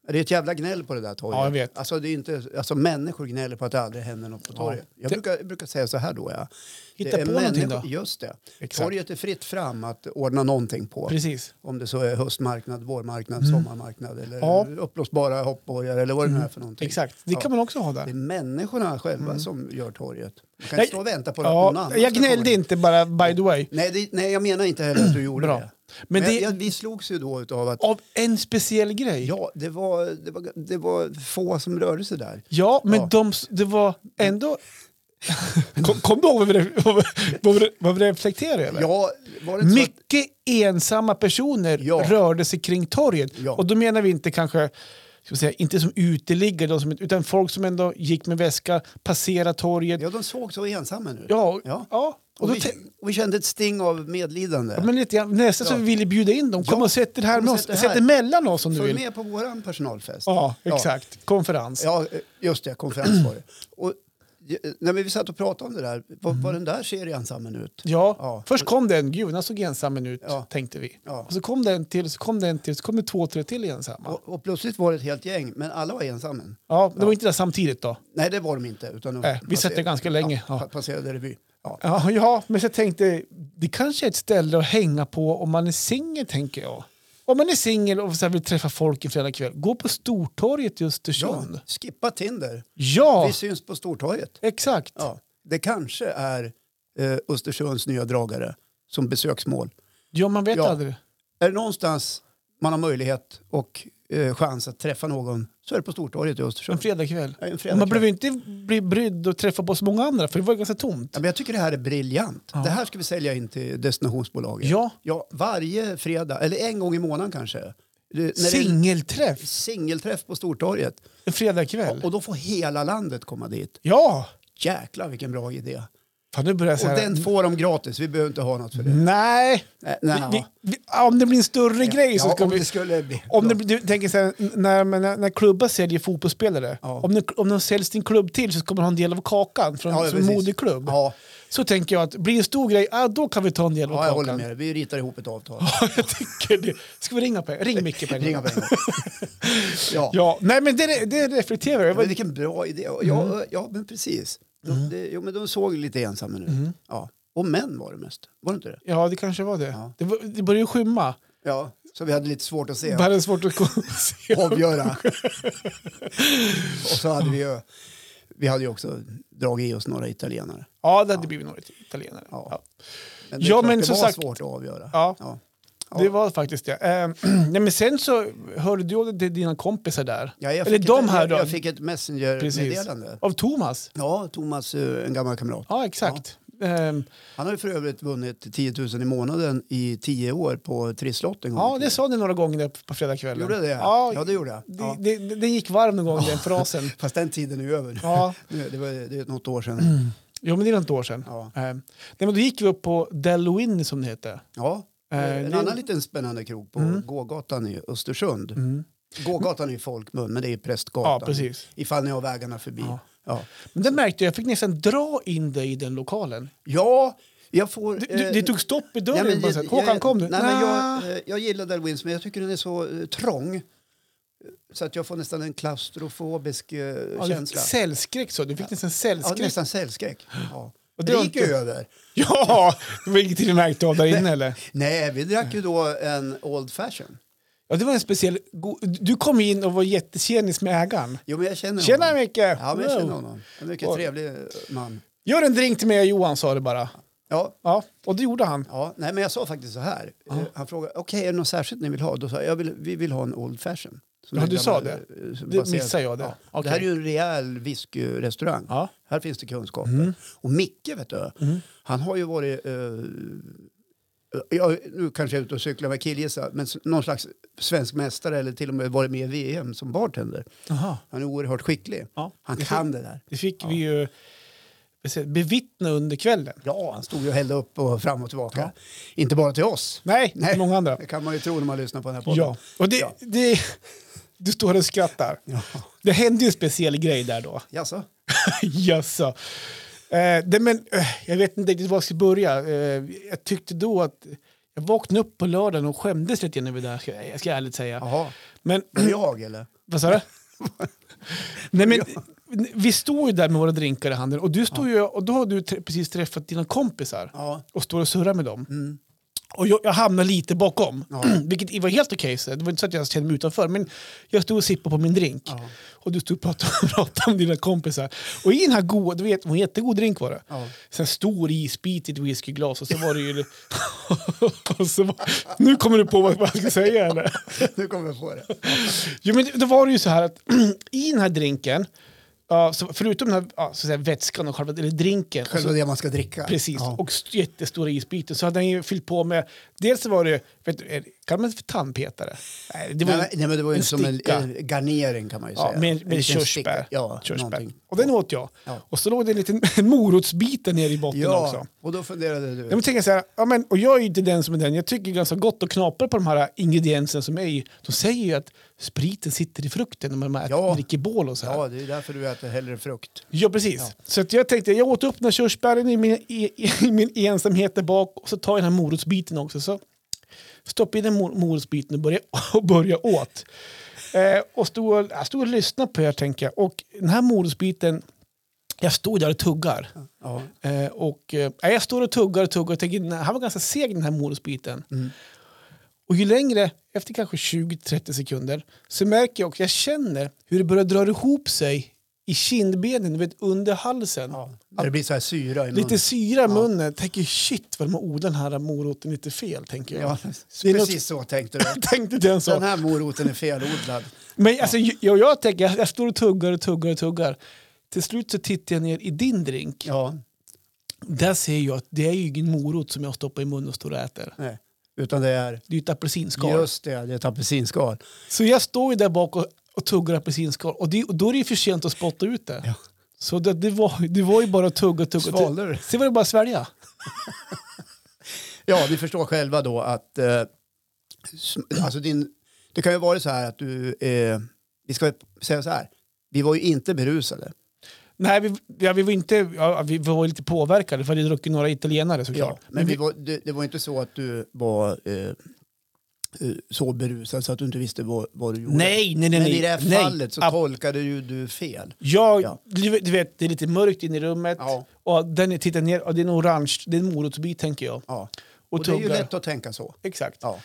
Speaker 2: Det är ett jävla gnäll på det där torget.
Speaker 1: Ja, jag vet.
Speaker 2: Alltså, det är inte, alltså, människor gnäller på att det aldrig händer något på torget. Jag
Speaker 1: Det-
Speaker 2: brukar, jag brukar säga så här då. Ja.
Speaker 1: Hitta
Speaker 2: Det är
Speaker 1: på någonting
Speaker 2: människor-
Speaker 1: då.
Speaker 2: Just det.
Speaker 1: Exakt.
Speaker 2: Torget är fritt fram att ordna någonting på.
Speaker 1: Precis. Mm.
Speaker 2: Om det så är höstmarknad, vårmarknad, sommarmarknad eller
Speaker 1: Ja. Mm.
Speaker 2: uppblåsbara hoppborgar eller vad det nu är för någonting.
Speaker 1: Exakt. Det
Speaker 2: Ja.
Speaker 1: kan man också ha
Speaker 2: Det är
Speaker 1: där.
Speaker 2: människorna själva som gör torget. Man kan
Speaker 1: Jag-
Speaker 2: inte stå och vänta på att någon
Speaker 1: Ja,
Speaker 2: annan
Speaker 1: jag
Speaker 2: ska komma
Speaker 1: gnällde
Speaker 2: in.
Speaker 1: inte bara by the way.
Speaker 2: Nej, det, nej, jag menar inte heller att du gjorde
Speaker 1: Bra.
Speaker 2: det.
Speaker 1: Men
Speaker 2: Men,
Speaker 1: det-
Speaker 2: jag, vi slogs ju då utav att
Speaker 1: Av en speciell grej.
Speaker 2: ja, det, var, det, var, det var få som rörde sig där.
Speaker 1: Ja, men
Speaker 2: Ja.
Speaker 1: De, det var ändå... Kom, kom du ihåg vad vi, re- vad, vi- vad vi reflekterade över?
Speaker 2: Ja, var det inte så att,
Speaker 1: Mycket ensamma personer
Speaker 2: Ja.
Speaker 1: rörde sig kring torget.
Speaker 2: Ja.
Speaker 1: Och då menar vi inte kanske, ska vi säga, inte som uteliggare, de som, utan folk som ändå gick med väska, passerade torget. Ja,
Speaker 2: ja, de såg så ensamma nu.
Speaker 1: ja.
Speaker 2: Ja.
Speaker 1: Och
Speaker 2: Och
Speaker 1: då
Speaker 2: vi,
Speaker 1: tän-
Speaker 2: vi kände ett sting av medlidande.
Speaker 1: men lite grann, nästan så
Speaker 2: Ja.
Speaker 1: vi ville bjuda in dem. Kom
Speaker 2: Ja,
Speaker 1: och sätt er här
Speaker 2: kom
Speaker 1: med
Speaker 2: och
Speaker 1: oss.
Speaker 2: sätt er
Speaker 1: Sätt er
Speaker 2: här.
Speaker 1: mellan oss om du
Speaker 2: Följ
Speaker 1: vill.
Speaker 2: med på våran personalfest.
Speaker 1: Ja, exakt. Konferens.
Speaker 2: Ja, just det, konferens var det. Och, nej, men vi satt och pratade om det där. Var,
Speaker 1: Mm.
Speaker 2: var den där ser ensammen ut?
Speaker 1: Ja.
Speaker 2: Ja.
Speaker 1: först kom den, gud den här såg ensam ut,
Speaker 2: Ja.
Speaker 1: tänkte vi.
Speaker 2: Ja.
Speaker 1: Och så kom den till, så kom den till, så kom det två, tre till ensamma.
Speaker 2: Och, och plötsligt var det ett helt gäng, men alla var ensammen.
Speaker 1: ja, det var inte det samtidigt då.
Speaker 2: Nej, det var de inte. Utan de
Speaker 1: Nej, Äh, vi satt där ganska länge,
Speaker 2: Ja,
Speaker 1: ja.
Speaker 2: pa- Passerade revy. Ja.
Speaker 1: Ja, ja, men så tänkte jag, det kanske är ett ställe att hänga på om man är singel, tänker jag. Om man är singel och så här vill träffa folk en fredagkväll, gå på Stortorget i
Speaker 2: Ja,
Speaker 1: Östersund.
Speaker 2: skippa Tinder.
Speaker 1: Ja,
Speaker 2: Vi syns på Stortorget.
Speaker 1: exakt.
Speaker 2: Ja. Det kanske är eh, Östersunds nya dragare som besöksmål.
Speaker 1: Ja, man vet
Speaker 2: Ja.
Speaker 1: aldrig.
Speaker 2: Är det någonstans man har möjlighet och eh, chans att träffa någon så är det på Stortorget i
Speaker 1: En
Speaker 2: Östersund.
Speaker 1: fredagkväll.
Speaker 2: Ja, en
Speaker 1: Och Man
Speaker 2: fredagkväll.
Speaker 1: behöver ju inte bli brydd och träffa på så många andra, för det var ju ganska tomt.
Speaker 2: Ja, men jag tycker det här är briljant. Det här ska vi sälja in till destinationsbolaget.
Speaker 1: Ja.
Speaker 2: ja varje fredag, eller en gång i månaden kanske. Det, när det är
Speaker 1: Singelträff
Speaker 2: singelträff på Stortorget.
Speaker 1: en fredagkväll.
Speaker 2: Och då får hela landet komma dit.
Speaker 1: Ja!
Speaker 2: Jäklar vilken bra idé.
Speaker 1: Fan, nu börjar jag
Speaker 2: Och
Speaker 1: så här...
Speaker 2: den får de gratis, vi behöver inte ha något för det.
Speaker 1: Nej!
Speaker 2: Eh, Nej, nej.
Speaker 1: Vi, vi, ja, om det blir en större grej så
Speaker 2: Ja,
Speaker 1: ska
Speaker 2: om
Speaker 1: vi...
Speaker 2: det skulle bli.
Speaker 1: Om det, du tänker så här, när, men när, när klubbar säljer fotbollsspelare,
Speaker 2: Ja.
Speaker 1: om, de, om de säljer sin klubb till så kommer de ha en del av kakan från
Speaker 2: Ja,
Speaker 1: som en
Speaker 2: precis.
Speaker 1: moderklubb.
Speaker 2: Ja,
Speaker 1: Så tänker jag att blir det en stor grej, ah, då kan vi ta en del av
Speaker 2: ja jag håller
Speaker 1: kakan.
Speaker 2: med dig. Vi ritar ihop ett avtal.
Speaker 1: jag tycker det. Ska vi ringa på Ring Micke på en gång.
Speaker 2: Ringa på en gång. Ja.
Speaker 1: Ja, nej men det, det reflekterar jag
Speaker 2: Men
Speaker 1: över.
Speaker 2: vilken bra idé. Och Ja,
Speaker 1: Mm.
Speaker 2: ja men precis. De, det, jo, men de såg lite ensamma nu.
Speaker 1: Mm.
Speaker 2: Ja. Och män var det mest. Var det inte det?
Speaker 1: Ja, det kanske var det.
Speaker 2: Ja.
Speaker 1: Det, var, det började ju skymma.
Speaker 2: Ja, så vi hade lite svårt att se.
Speaker 1: Det här är svårt att kon- se.
Speaker 2: Avgöra. och så hade vi ju, vi hade ju också dragit i oss några italienare.
Speaker 1: Ja, det hade blivit några italienare.
Speaker 2: Ja.
Speaker 1: Ja.
Speaker 2: Men det, är
Speaker 1: Ja,
Speaker 2: klart,
Speaker 1: men
Speaker 2: det
Speaker 1: som
Speaker 2: var
Speaker 1: sagt-
Speaker 2: svårt att avgöra.
Speaker 1: Ja.
Speaker 2: Ja.
Speaker 1: Det var faktiskt det. Eh, nej, men sen så hörde du av dig till dina kompisar där.
Speaker 2: Ja, jag
Speaker 1: Eller
Speaker 2: fick
Speaker 1: de
Speaker 2: ett,
Speaker 1: här
Speaker 2: jag,
Speaker 1: då.
Speaker 2: jag fick ett messengermeddelande.
Speaker 1: Av Thomas.
Speaker 2: Ja, Thomas, eh, en gammal kamrat.
Speaker 1: Ja, exakt. Ehm,
Speaker 2: Han har ju för övrigt vunnit 10 000 i månaden i 10 år på trisslotten.
Speaker 1: ja, det sa ni några gånger där på fredagskvällen.
Speaker 2: Gjorde det?
Speaker 1: Ja,
Speaker 2: Ja, det gjorde jag.
Speaker 1: det,
Speaker 2: Ja.
Speaker 1: det, det, det gick varm någon gång, den frasen.
Speaker 2: Fast den tiden är ju över.
Speaker 1: Ja, Mm.
Speaker 2: Nu, det, var, det är något år sedan.
Speaker 1: jo, men det är något år sedan.
Speaker 2: Ja.
Speaker 1: Ehm, nej, men då gick vi upp på Deluin som det hette.
Speaker 2: Ja.
Speaker 1: Eh, Mm.
Speaker 2: en
Speaker 1: det-
Speaker 2: annan liten spännande krog på gågatan i Östersund. Gågatan är ju folkmun, men det är Prästgatan.
Speaker 1: Mm. Ja, precis.
Speaker 2: Ifall ni har vägarna förbi.
Speaker 1: Ja.
Speaker 2: Ja, ja.
Speaker 1: Men det märkte jag, jag fick nästan dra in dig i den lokalen.
Speaker 2: jag får...
Speaker 1: Du, du,
Speaker 2: eh,
Speaker 1: det tog stopp i
Speaker 2: nej,
Speaker 1: dörren.
Speaker 2: men
Speaker 1: bara
Speaker 2: jag-
Speaker 1: så här, Håkan,
Speaker 2: jag-
Speaker 1: kom nu. Ah,
Speaker 2: Nej, men
Speaker 1: Nja.
Speaker 2: jag, eh, jag gillar Delwins, men jag tycker den är så eh, trång. eh, Så att jag får nästan en klaustrofobisk eh,
Speaker 1: Ja, det-
Speaker 2: känsla.
Speaker 1: Cellskräck så du fick nästan
Speaker 2: Ja,
Speaker 1: cellskräck.
Speaker 2: nästan cellskräck. Ja.
Speaker 1: Och
Speaker 2: Och
Speaker 1: det
Speaker 2: det,
Speaker 1: var
Speaker 2: gick ju
Speaker 1: inte-
Speaker 2: över.
Speaker 1: Ja, det var ingenting vi märkte av där inne eller?
Speaker 2: Nej, vi drack ju då en Old Fashion.
Speaker 1: Ja, det var en speciell... go- Du kom in och var jättekändis med ägaren.
Speaker 2: Jo, men jag känner
Speaker 1: Tjena
Speaker 2: honom.
Speaker 1: Micke!
Speaker 2: Ja, men jag känner
Speaker 1: Wow.
Speaker 2: honom. En mycket
Speaker 1: Wow.
Speaker 2: trevlig eh, man.
Speaker 1: Gör en drink till mig och Johan sa det bara.
Speaker 2: Ja,
Speaker 1: Ja, och det gjorde han.
Speaker 2: ja. Nej, men jag sa faktiskt så här. Eh, Han frågade, okej, är det något särskilt ni vill ha? Då sa jag, jag vill, vi vill ha en Old Fashion. Som
Speaker 1: Ja,
Speaker 2: är
Speaker 1: du
Speaker 2: gammal,
Speaker 1: sa det.
Speaker 2: eh, som
Speaker 1: Det
Speaker 2: baserad-
Speaker 1: missade jag det.
Speaker 2: Det här är
Speaker 1: Okej.
Speaker 2: ju en rejäl whiskyrestaurang.
Speaker 1: Ja. Mm.
Speaker 2: Här finns det kunskaper. Och Micke, vet du, han har ju varit... Eh, ja, nu kanske jag är ute och cyklar med killgissa, men s- någon slags svensk mästare eller till och med varit med i VM som bartender.
Speaker 1: Aha.
Speaker 2: Han är oerhört skicklig.
Speaker 1: Ja.
Speaker 2: Han kan det där.
Speaker 1: Det fick vi ju vad säger- bevittna under kvällen.
Speaker 2: Ja, han stod ju och hällde upp och fram och tillbaka. Inte bara till oss.
Speaker 1: Nej,
Speaker 2: Nej.
Speaker 1: många andra.
Speaker 2: Det kan man ju tro när man lyssnar på den här podden.
Speaker 1: Ja. Och det,
Speaker 2: Ja.
Speaker 1: det, du står och skrattar.
Speaker 2: Ja.
Speaker 1: Det hände ju en speciell grej där då.
Speaker 2: Jaså?
Speaker 1: Jösså. Eh, Eh, det, men, eh, jag vet inte riktigt var jag ska börja. Eh, jag tyckte då att jag vaknade upp på lördagen och skämdes lite grann över det här, ska, jag- jag ska ärligt säga.
Speaker 2: Jaha,
Speaker 1: Men,
Speaker 2: var det jag eller?
Speaker 1: vad sa du? Nej, men, vi står ju där med våra drinkar i handen och, du står ju, och då har du tre- precis träffat dina kompisar
Speaker 2: Ja.
Speaker 1: och står och surrar med dem. Och jag, jag hamnar lite bakom,
Speaker 2: Mm. Ja.
Speaker 1: vilket var helt okej. så det var inte så att jag kände mig utanför, men jag stod och sippade på min drink.
Speaker 2: Ja.
Speaker 1: Och du stod och pratade, pratade om dina kompisar. Och i den här goda, du vet, en jättegod drink var det.
Speaker 2: Ja.
Speaker 1: Sen stor isbit i ett whiskyglas och så var det ju... och så var, nu kommer du på vad jag ska säga eller?
Speaker 2: Nu kommer jag på det.
Speaker 1: Alltså, Jo, men då var det ju så här att i den här drinken, ja, så förutom den här ja, så att säga, vätskan och själva eller drinken,
Speaker 2: Själva
Speaker 1: och så,
Speaker 2: det man ska dricka.
Speaker 1: precis,
Speaker 2: Ja.
Speaker 1: och st- jättestora isbitar, så hade han ju fyllt på med, dels så var det, vet du, är det- kallar man det för tandpetare? Nej, det var ju-
Speaker 2: nej, men- nej, men det var ju
Speaker 1: en
Speaker 2: som en,
Speaker 1: sticka.
Speaker 2: en garnering kan man ju
Speaker 1: Ja,
Speaker 2: säga.
Speaker 1: med,
Speaker 2: En
Speaker 1: med
Speaker 2: liten sticka.
Speaker 1: körsbär.
Speaker 2: Ja,
Speaker 1: körsbär.
Speaker 2: någonting.
Speaker 1: Och den åt jag.
Speaker 2: Ja.
Speaker 1: Och så låg det en liten morotsbit där nere i botten
Speaker 2: Ja,
Speaker 1: också.
Speaker 2: och då funderade du.
Speaker 1: Jag tänker så här, ja, men, och jag är ju inte den som är den. Jag tycker ganska gott och knaprar på de här ingredienserna som är i. De säger ju att spriten sitter i frukten när man
Speaker 2: Ja.
Speaker 1: äter, dricker bål och så här.
Speaker 2: Ja, det är därför du äter hellre frukt.
Speaker 1: Ja, precis.
Speaker 2: Ja.
Speaker 1: Så att jag tänkte, jag åt upp den här körsbären i min, i, i min ensamhet där bak och så tar jag den här morotsbiten också. Så stoppade jag in den mor- morotsbiten och började, och började åt. Eh, och stod, och- jag stod och lyssnade på er, tänker jag. Och den här morotsbiten, jag stod där och tuggar.
Speaker 2: Ja.
Speaker 1: Eh, och, eh, jag står och tuggar och tuggar och tänker, "Nej, han var ganska seg den här morotsbiten.
Speaker 2: Mm.
Speaker 1: Och ju längre, efter kanske 20-30 sekunder, så märker jag och jag känner hur det börjar dra ihop sig i kindbenen, du vet, under halsen.
Speaker 2: Ja. När det blir så här syra i
Speaker 1: Lite
Speaker 2: munnen.
Speaker 1: syra i munnen. Tänker shit vad de har odlat den här moroten lite fel, tänker jag.
Speaker 2: Ja,
Speaker 1: Det är något-
Speaker 2: precis så tänkte du.
Speaker 1: tänkte den så.
Speaker 2: Den här moroten är felodlad.
Speaker 1: Men alltså, jag, jag tänker, jag, jag står och tuggar och tuggar och tuggar. Till slut så tittar jag ner i din drink.
Speaker 2: Ja,
Speaker 1: Där ser jag att det är ju ingen morot som jag stoppar i munnen och står och äter.
Speaker 2: nej. Utan det är...
Speaker 1: Det är ju ett apelsinskal.
Speaker 2: Just det, det är ett apelsinskal.
Speaker 1: Så jag står ju där bak och, och tuggar apelsinskal och, det, och då är det ju för sent att spotta ut det.
Speaker 2: Ja.
Speaker 1: Så det, det, var, det var ju bara att tugga och tugga.
Speaker 2: Svalde du?
Speaker 1: Sen var det bara att svälja.
Speaker 2: Ja, ni förstår själva då att... Eh, sm- alltså din, det kan ju vara så här att du... Eh, vi ska säga så här. Vi var ju inte berusade.
Speaker 1: Nej, vi, ja, vi, var inte, ja, vi var lite påverkade för vi hade druckit några italienare såklart.
Speaker 2: Ja, men vi var, det, det var inte så att du var eh, eh, så berusad så att du inte visste vad, vad du gjorde.
Speaker 1: Nej, nej, nej.
Speaker 2: Men i
Speaker 1: nej.
Speaker 2: det här
Speaker 1: nej.
Speaker 2: fallet så
Speaker 1: Ab-
Speaker 2: tolkade ju du fel.
Speaker 1: jag,
Speaker 2: Ja.
Speaker 1: du, du vet, det är lite mörkt inne i rummet
Speaker 2: Ja.
Speaker 1: och den jag tittar ner och det är en orange, det är en morotsbit tänker jag.
Speaker 2: Ja.
Speaker 1: Och,
Speaker 2: Och, det är ju
Speaker 1: tuggar.
Speaker 2: lätt att tänka så.
Speaker 1: Exakt.
Speaker 2: Ja.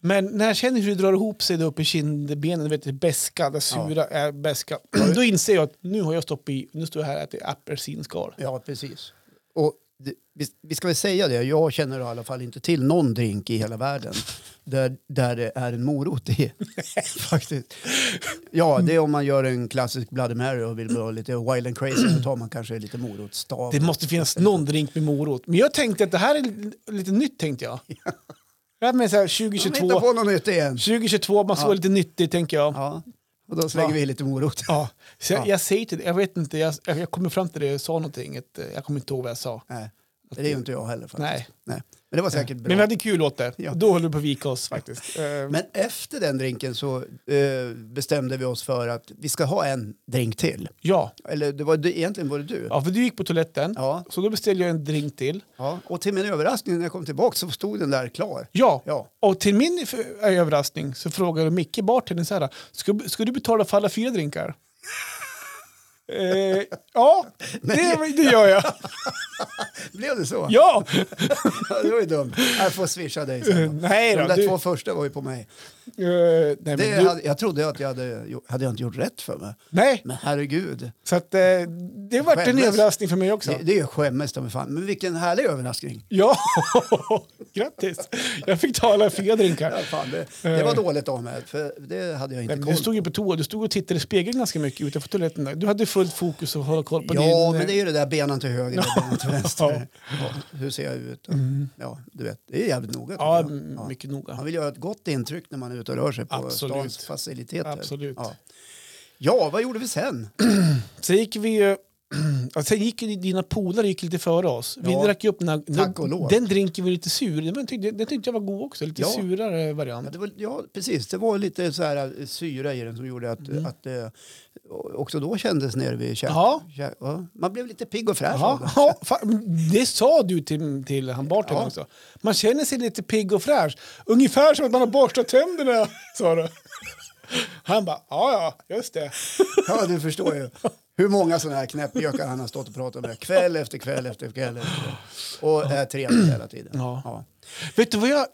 Speaker 1: Men när jag känner hur det drar ihop sig där uppe i kindbenen, du vet det beska, det sura är beska. Då inser jag att nu har jag stoppat i, nu står jag här och äter apelsinskal.
Speaker 2: ja, precis. Och det, vi, vi ska väl säga det, jag känner i alla fall inte till någon drink i hela världen där, där det är en morot i. Faktiskt. Ja, det är om man gör en klassisk Bloody Mary och vill vara lite wild and crazy, då tar man kanske lite morotstav.
Speaker 1: Det måste finnas någon drink med morot. Men jag tänkte att det här är li- lite nytt tänkte jag. Jag menar så här
Speaker 2: De hittar
Speaker 1: 2022,
Speaker 2: på något nytt igen.
Speaker 1: 2022, man ska vara lite nyttig tänker jag.
Speaker 2: Ja, och då slänger
Speaker 1: Ja.
Speaker 2: vi i lite morot.
Speaker 1: Ja. Så jag,
Speaker 2: Ja.
Speaker 1: jag säger till dig, jag vet inte, jag, jag kommer fram till det, jag sa någonting, ett, eh, jag kommer inte ihåg vad jag sa.
Speaker 2: Nej, det är ju inte jag heller faktiskt.
Speaker 1: Nej.
Speaker 2: Nej. Men det var säkert bra.
Speaker 1: Men vi hade kul åt det,
Speaker 2: Ja. Ehm.
Speaker 1: då höll vi på att vika oss faktiskt. Eh,
Speaker 2: Men efter den drinken så eh, bestämde vi oss för att vi ska ha en drink till.
Speaker 1: ja.
Speaker 2: Eller det var, det, egentligen var det du.
Speaker 1: ja, för du gick på toaletten,
Speaker 2: Ja.
Speaker 1: så då beställde jag en drink till.
Speaker 2: Ja. Och till min överraskning när jag kom tillbaka så stod den där klar.
Speaker 1: Ja.
Speaker 2: Ja.
Speaker 1: och till min f- överraskning så frågade Micke bartendern så här, ska, ska du betala för alla fyra drinkar? eh, ja, det, det gör jag.
Speaker 2: Blev det så?
Speaker 1: Ja!
Speaker 2: Ja, det var ju dumt. Jag får swisha dig sen.
Speaker 1: Eh, nej då,
Speaker 2: De där
Speaker 1: du-
Speaker 2: två första var ju på mig.
Speaker 1: Eh, nej, men
Speaker 2: Det
Speaker 1: du,
Speaker 2: hade, jag trodde att jag hade, gjort- hade jag inte gjort rätt för mig.
Speaker 1: nej,
Speaker 2: Men herregud.
Speaker 1: så att, eh, det var en
Speaker 2: Skämdes.
Speaker 1: överraskning för mig också.
Speaker 2: Det, det är ju skämmes ta mig fan. Men vilken härlig överraskning.
Speaker 1: Ja, grattis! Jag fick ta alla fyra
Speaker 2: Ja,
Speaker 1: drinkar.
Speaker 2: fan, det, det var dåligt av mig, för det hade jag inte
Speaker 1: Eh. Nej, men
Speaker 2: koll
Speaker 1: Du
Speaker 2: på.
Speaker 1: stod ju på toa, du stod och tittade i spegeln ganska mycket utanför toaletten. där. Du hade fullt fokus och hålla koll på
Speaker 2: Ja,
Speaker 1: din... eh,
Speaker 2: men det är ju det där benen till höger och benen till vänster. Ja, hur ser jag ut? Ja, du vet, det är jävligt noga. tycker
Speaker 1: Mm. Ja, mm.
Speaker 2: jag.
Speaker 1: m- mycket noga.
Speaker 2: Man vill göra ett gott intryck när man är ute och rör sig på
Speaker 1: Absolut.
Speaker 2: stans faciliteter.
Speaker 1: Absolut.
Speaker 2: Ja. ja, vad gjorde vi sen?
Speaker 1: Så gick vi ju Ja, sen gick ju dina polare gick lite före oss. Vi
Speaker 2: Ja.
Speaker 1: drack ju upp den här,
Speaker 2: Tack och lov.
Speaker 1: Den drinken var lite sur. Den, var- tyckte- den tyckte jag var god också. Lite
Speaker 2: Ja.
Speaker 1: surare variant.
Speaker 2: Ja, det var, ja, precis. Det var lite så här eh, syra i den som gjorde att, att det också då kändes nere vid käk.
Speaker 1: Mm. Ja.
Speaker 2: käk- ja. Man blev lite pigg och fräsch av
Speaker 1: Ja,
Speaker 2: det.
Speaker 1: ja, fan, det sa du till, till han bartendern
Speaker 2: Ja.
Speaker 1: också. Man känner sig lite pigg och fräsch. Ungefär som att man har borstat tänderna, sa du. Han bara, ja, ja, just det.
Speaker 2: Ja, du förstår ju. Hur många sådana här knäppjökar han har stått och pratat med kväll efter kväll efter kväll. Efter. kväll. Och är trevlig hela tiden.
Speaker 1: Ja. Vet du vad jag...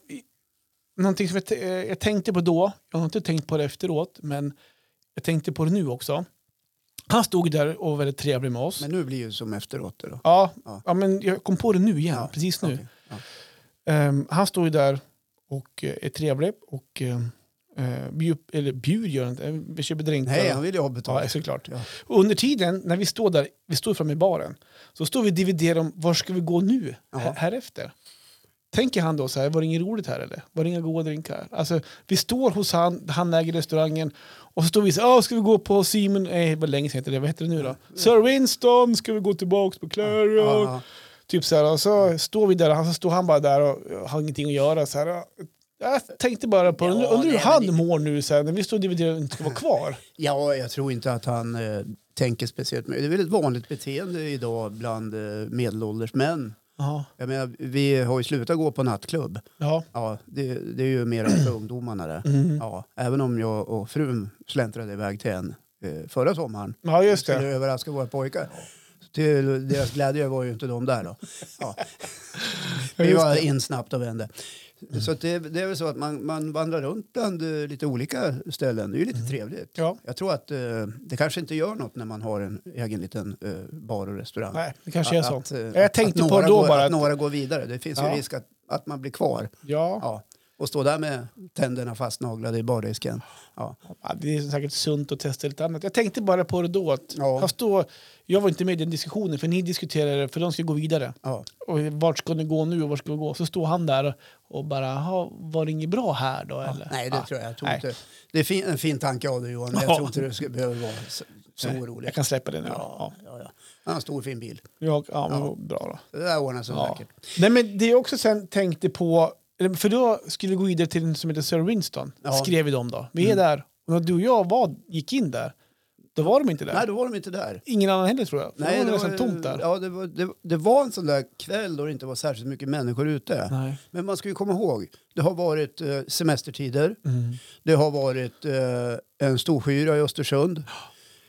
Speaker 1: Någonting som jag, t- eh, jag tänkte på då, jag har inte tänkt på det efteråt, men jag tänkte på det nu också. Han stod där och var väldigt trevlig med oss.
Speaker 2: Men nu blir ju som efteråt. det Då.
Speaker 1: ja, ja.
Speaker 2: Ja.
Speaker 1: men jag kom på det nu igen,
Speaker 2: Ja,
Speaker 1: precis nu.
Speaker 2: Okej. Ja.
Speaker 1: Ehm, han står ju där och eh, är trevlig och ehm, eh, bjud, eller bjud gör han inte, eh, vi köper drinkar.
Speaker 2: Nej, han vill ju ha betalt.
Speaker 1: Ja, såklart.
Speaker 2: Ja.
Speaker 1: Och under tiden, när vi står där, vi står framme i baren, så står vi och dividerar om var ska vi gå nu,
Speaker 2: Jaha.
Speaker 1: här, här efter. Tänker han då så här, var det inget roligt här eller? Var det inga goda drinkar? Alltså, vi står hos han, han äger restaurangen och så står vi så här, "Ah, ska vi gå på Simon, nej, vad länge sedan heter det, vad heter det nu då? Sir Winston, ska vi gå tillbaks på Clary?
Speaker 2: Mm. Ja, ja.
Speaker 1: Typ så här, och så står vi där, och han- så står han bara där och har ingenting att göra. Så här. Jag tänkte bara på,
Speaker 2: Ja,
Speaker 1: undrar undrar hur
Speaker 2: nej,
Speaker 1: han
Speaker 2: men
Speaker 1: mår nu så här, när vi står och dividerar och inte ska vara kvar.
Speaker 2: Ja, jag tror inte att han eh, tänker speciellt mycket. Det är väl ett vanligt beteende idag bland eh, medelålders män.
Speaker 1: Ja,
Speaker 2: Jag menar, vi har ju slutat gå på nattklubb.
Speaker 1: ja.
Speaker 2: Ja, det, det är ju mer för ungdomarna det.
Speaker 1: Mm.
Speaker 2: Ja, även om jag och frun släntrade iväg till en eh, förra sommaren.
Speaker 1: ja just det.
Speaker 2: Skulle överraska våra pojkar. Till deras glädje var ju inte de där då. Ja. Vi
Speaker 1: just
Speaker 2: var in snabbt och vände. Så att det, det är väl så att man, man vandrar runt bland eh, lite olika ställen. Det är ju lite
Speaker 1: Mm.
Speaker 2: trevligt.
Speaker 1: Ja.
Speaker 2: Jag tror att eh, det kanske inte gör något när man har en egen liten eh, bar och restaurang.
Speaker 1: Nej, det kanske är så.
Speaker 2: Att, eh,
Speaker 1: jag tänkte
Speaker 2: att
Speaker 1: på
Speaker 2: några
Speaker 1: då
Speaker 2: går,
Speaker 1: bara
Speaker 2: Att
Speaker 1: att,
Speaker 2: några går vidare. Det finns
Speaker 1: Ja.
Speaker 2: ju risk att, att man blir kvar.
Speaker 1: ja,
Speaker 2: Ja. Och stå där med tänderna fastnaglade i bardisken. Ja.
Speaker 1: ja, det är säkert sunt att testa lite annat. Jag tänkte bara på det då att
Speaker 2: Ja.
Speaker 1: han står, jag var inte med i den diskussionen för ni diskuterade det, för de ska gå vidare.
Speaker 2: Ja.
Speaker 1: Och vart ska ni gå nu och vart ska vi gå? Så står han där och bara, "Jaha, var det inget bra här då eller?
Speaker 2: Nej, det
Speaker 1: Ah,
Speaker 2: tror jag. jag tror
Speaker 1: nej.
Speaker 2: inte. Det är fin, en fin tanke av dig Johan, men
Speaker 1: Ja.
Speaker 2: jag tror inte du ska, behöver vara så, så
Speaker 1: Nej,
Speaker 2: orolig.
Speaker 1: Jag kan släppa det nu. Ja.
Speaker 2: Ja, ja, ja. Han har en stor fin bil.
Speaker 1: Jag, ja, men
Speaker 2: Ja.
Speaker 1: bra då.
Speaker 2: Det där ordnar sig
Speaker 1: Ja.
Speaker 2: säkert.
Speaker 1: Nej, men det jag också sen tänkte på, för då skulle vi gå vidare till en som heter Sir Winston,
Speaker 2: Ja. Mm.
Speaker 1: skrev vi dem då. Vi är där, och när du och jag var, gick in där, då var de inte där.
Speaker 2: Nej, då var de inte där.
Speaker 1: Ingen annan heller tror jag. För Nej, det var nästan
Speaker 2: ju-
Speaker 1: tomt där.
Speaker 2: Ja, det, var, det, det var en sån där kväll då det inte var särskilt mycket människor ute.
Speaker 1: Nej.
Speaker 2: Men man ska ju komma ihåg, det har varit eh, semestertider,
Speaker 1: Mm.
Speaker 2: det har varit eh, en storskyra i Östersund,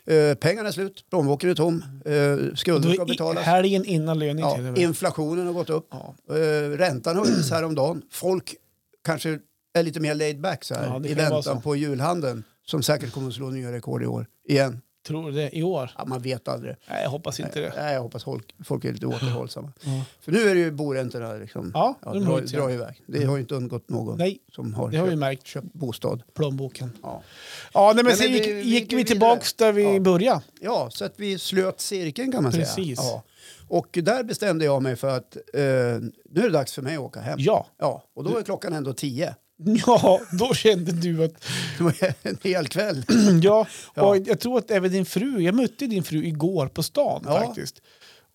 Speaker 2: eh, pengarna är slut, plånboken är tom, eh,
Speaker 1: Och
Speaker 2: skulder ska
Speaker 1: då i,
Speaker 2: betalas.
Speaker 1: helgen innan löning
Speaker 2: Ja,
Speaker 1: till det. väl?
Speaker 2: inflationen har gått upp.
Speaker 1: Ja.
Speaker 2: Eh, räntan höjdes häromdagen. Folk kanske är lite mer laid back så här,
Speaker 1: Ja, det
Speaker 2: i
Speaker 1: kan vara så.
Speaker 2: väntan på julhandeln som säkert kommer att slå nya rekord i år igen.
Speaker 1: Tror du det? I år?
Speaker 2: Ja, man vet aldrig.
Speaker 1: Nej, jag hoppas inte det.
Speaker 2: Nej, jag hoppas folk, folk är lite återhållsamma.
Speaker 1: Ja.
Speaker 2: För nu är det ju boräntorna liksom,
Speaker 1: Ja,
Speaker 2: ja,
Speaker 1: de
Speaker 2: drar,
Speaker 1: höjs igen.
Speaker 2: drar iväg. Det har ju inte undgått någon
Speaker 1: Nej,
Speaker 2: som har,
Speaker 1: det har vi
Speaker 2: köpt,
Speaker 1: märkt.
Speaker 2: köpt bostad.
Speaker 1: Plånboken.
Speaker 2: Ja.
Speaker 1: Ja, nej, men
Speaker 2: men
Speaker 1: sen
Speaker 2: vi-
Speaker 1: gick,
Speaker 2: vi
Speaker 1: gick
Speaker 2: går
Speaker 1: vi
Speaker 2: vidare.
Speaker 1: tillbaks där vi
Speaker 2: Ja.
Speaker 1: började.
Speaker 2: ja, så att vi slöt cirkeln kan man säga.
Speaker 1: Precis.
Speaker 2: Ja. Och där bestämde jag mig för att eh, nu är det dags för mig att åka hem.
Speaker 1: Ja.
Speaker 2: Ja, och då är klockan ändå tio.
Speaker 1: Ja, då kände du att...
Speaker 2: Det var en hel kväll.
Speaker 1: Ja,
Speaker 2: Ja.
Speaker 1: och jag tror att även din fru, jag mötte din fru igår på stan
Speaker 2: Ja.
Speaker 1: faktiskt.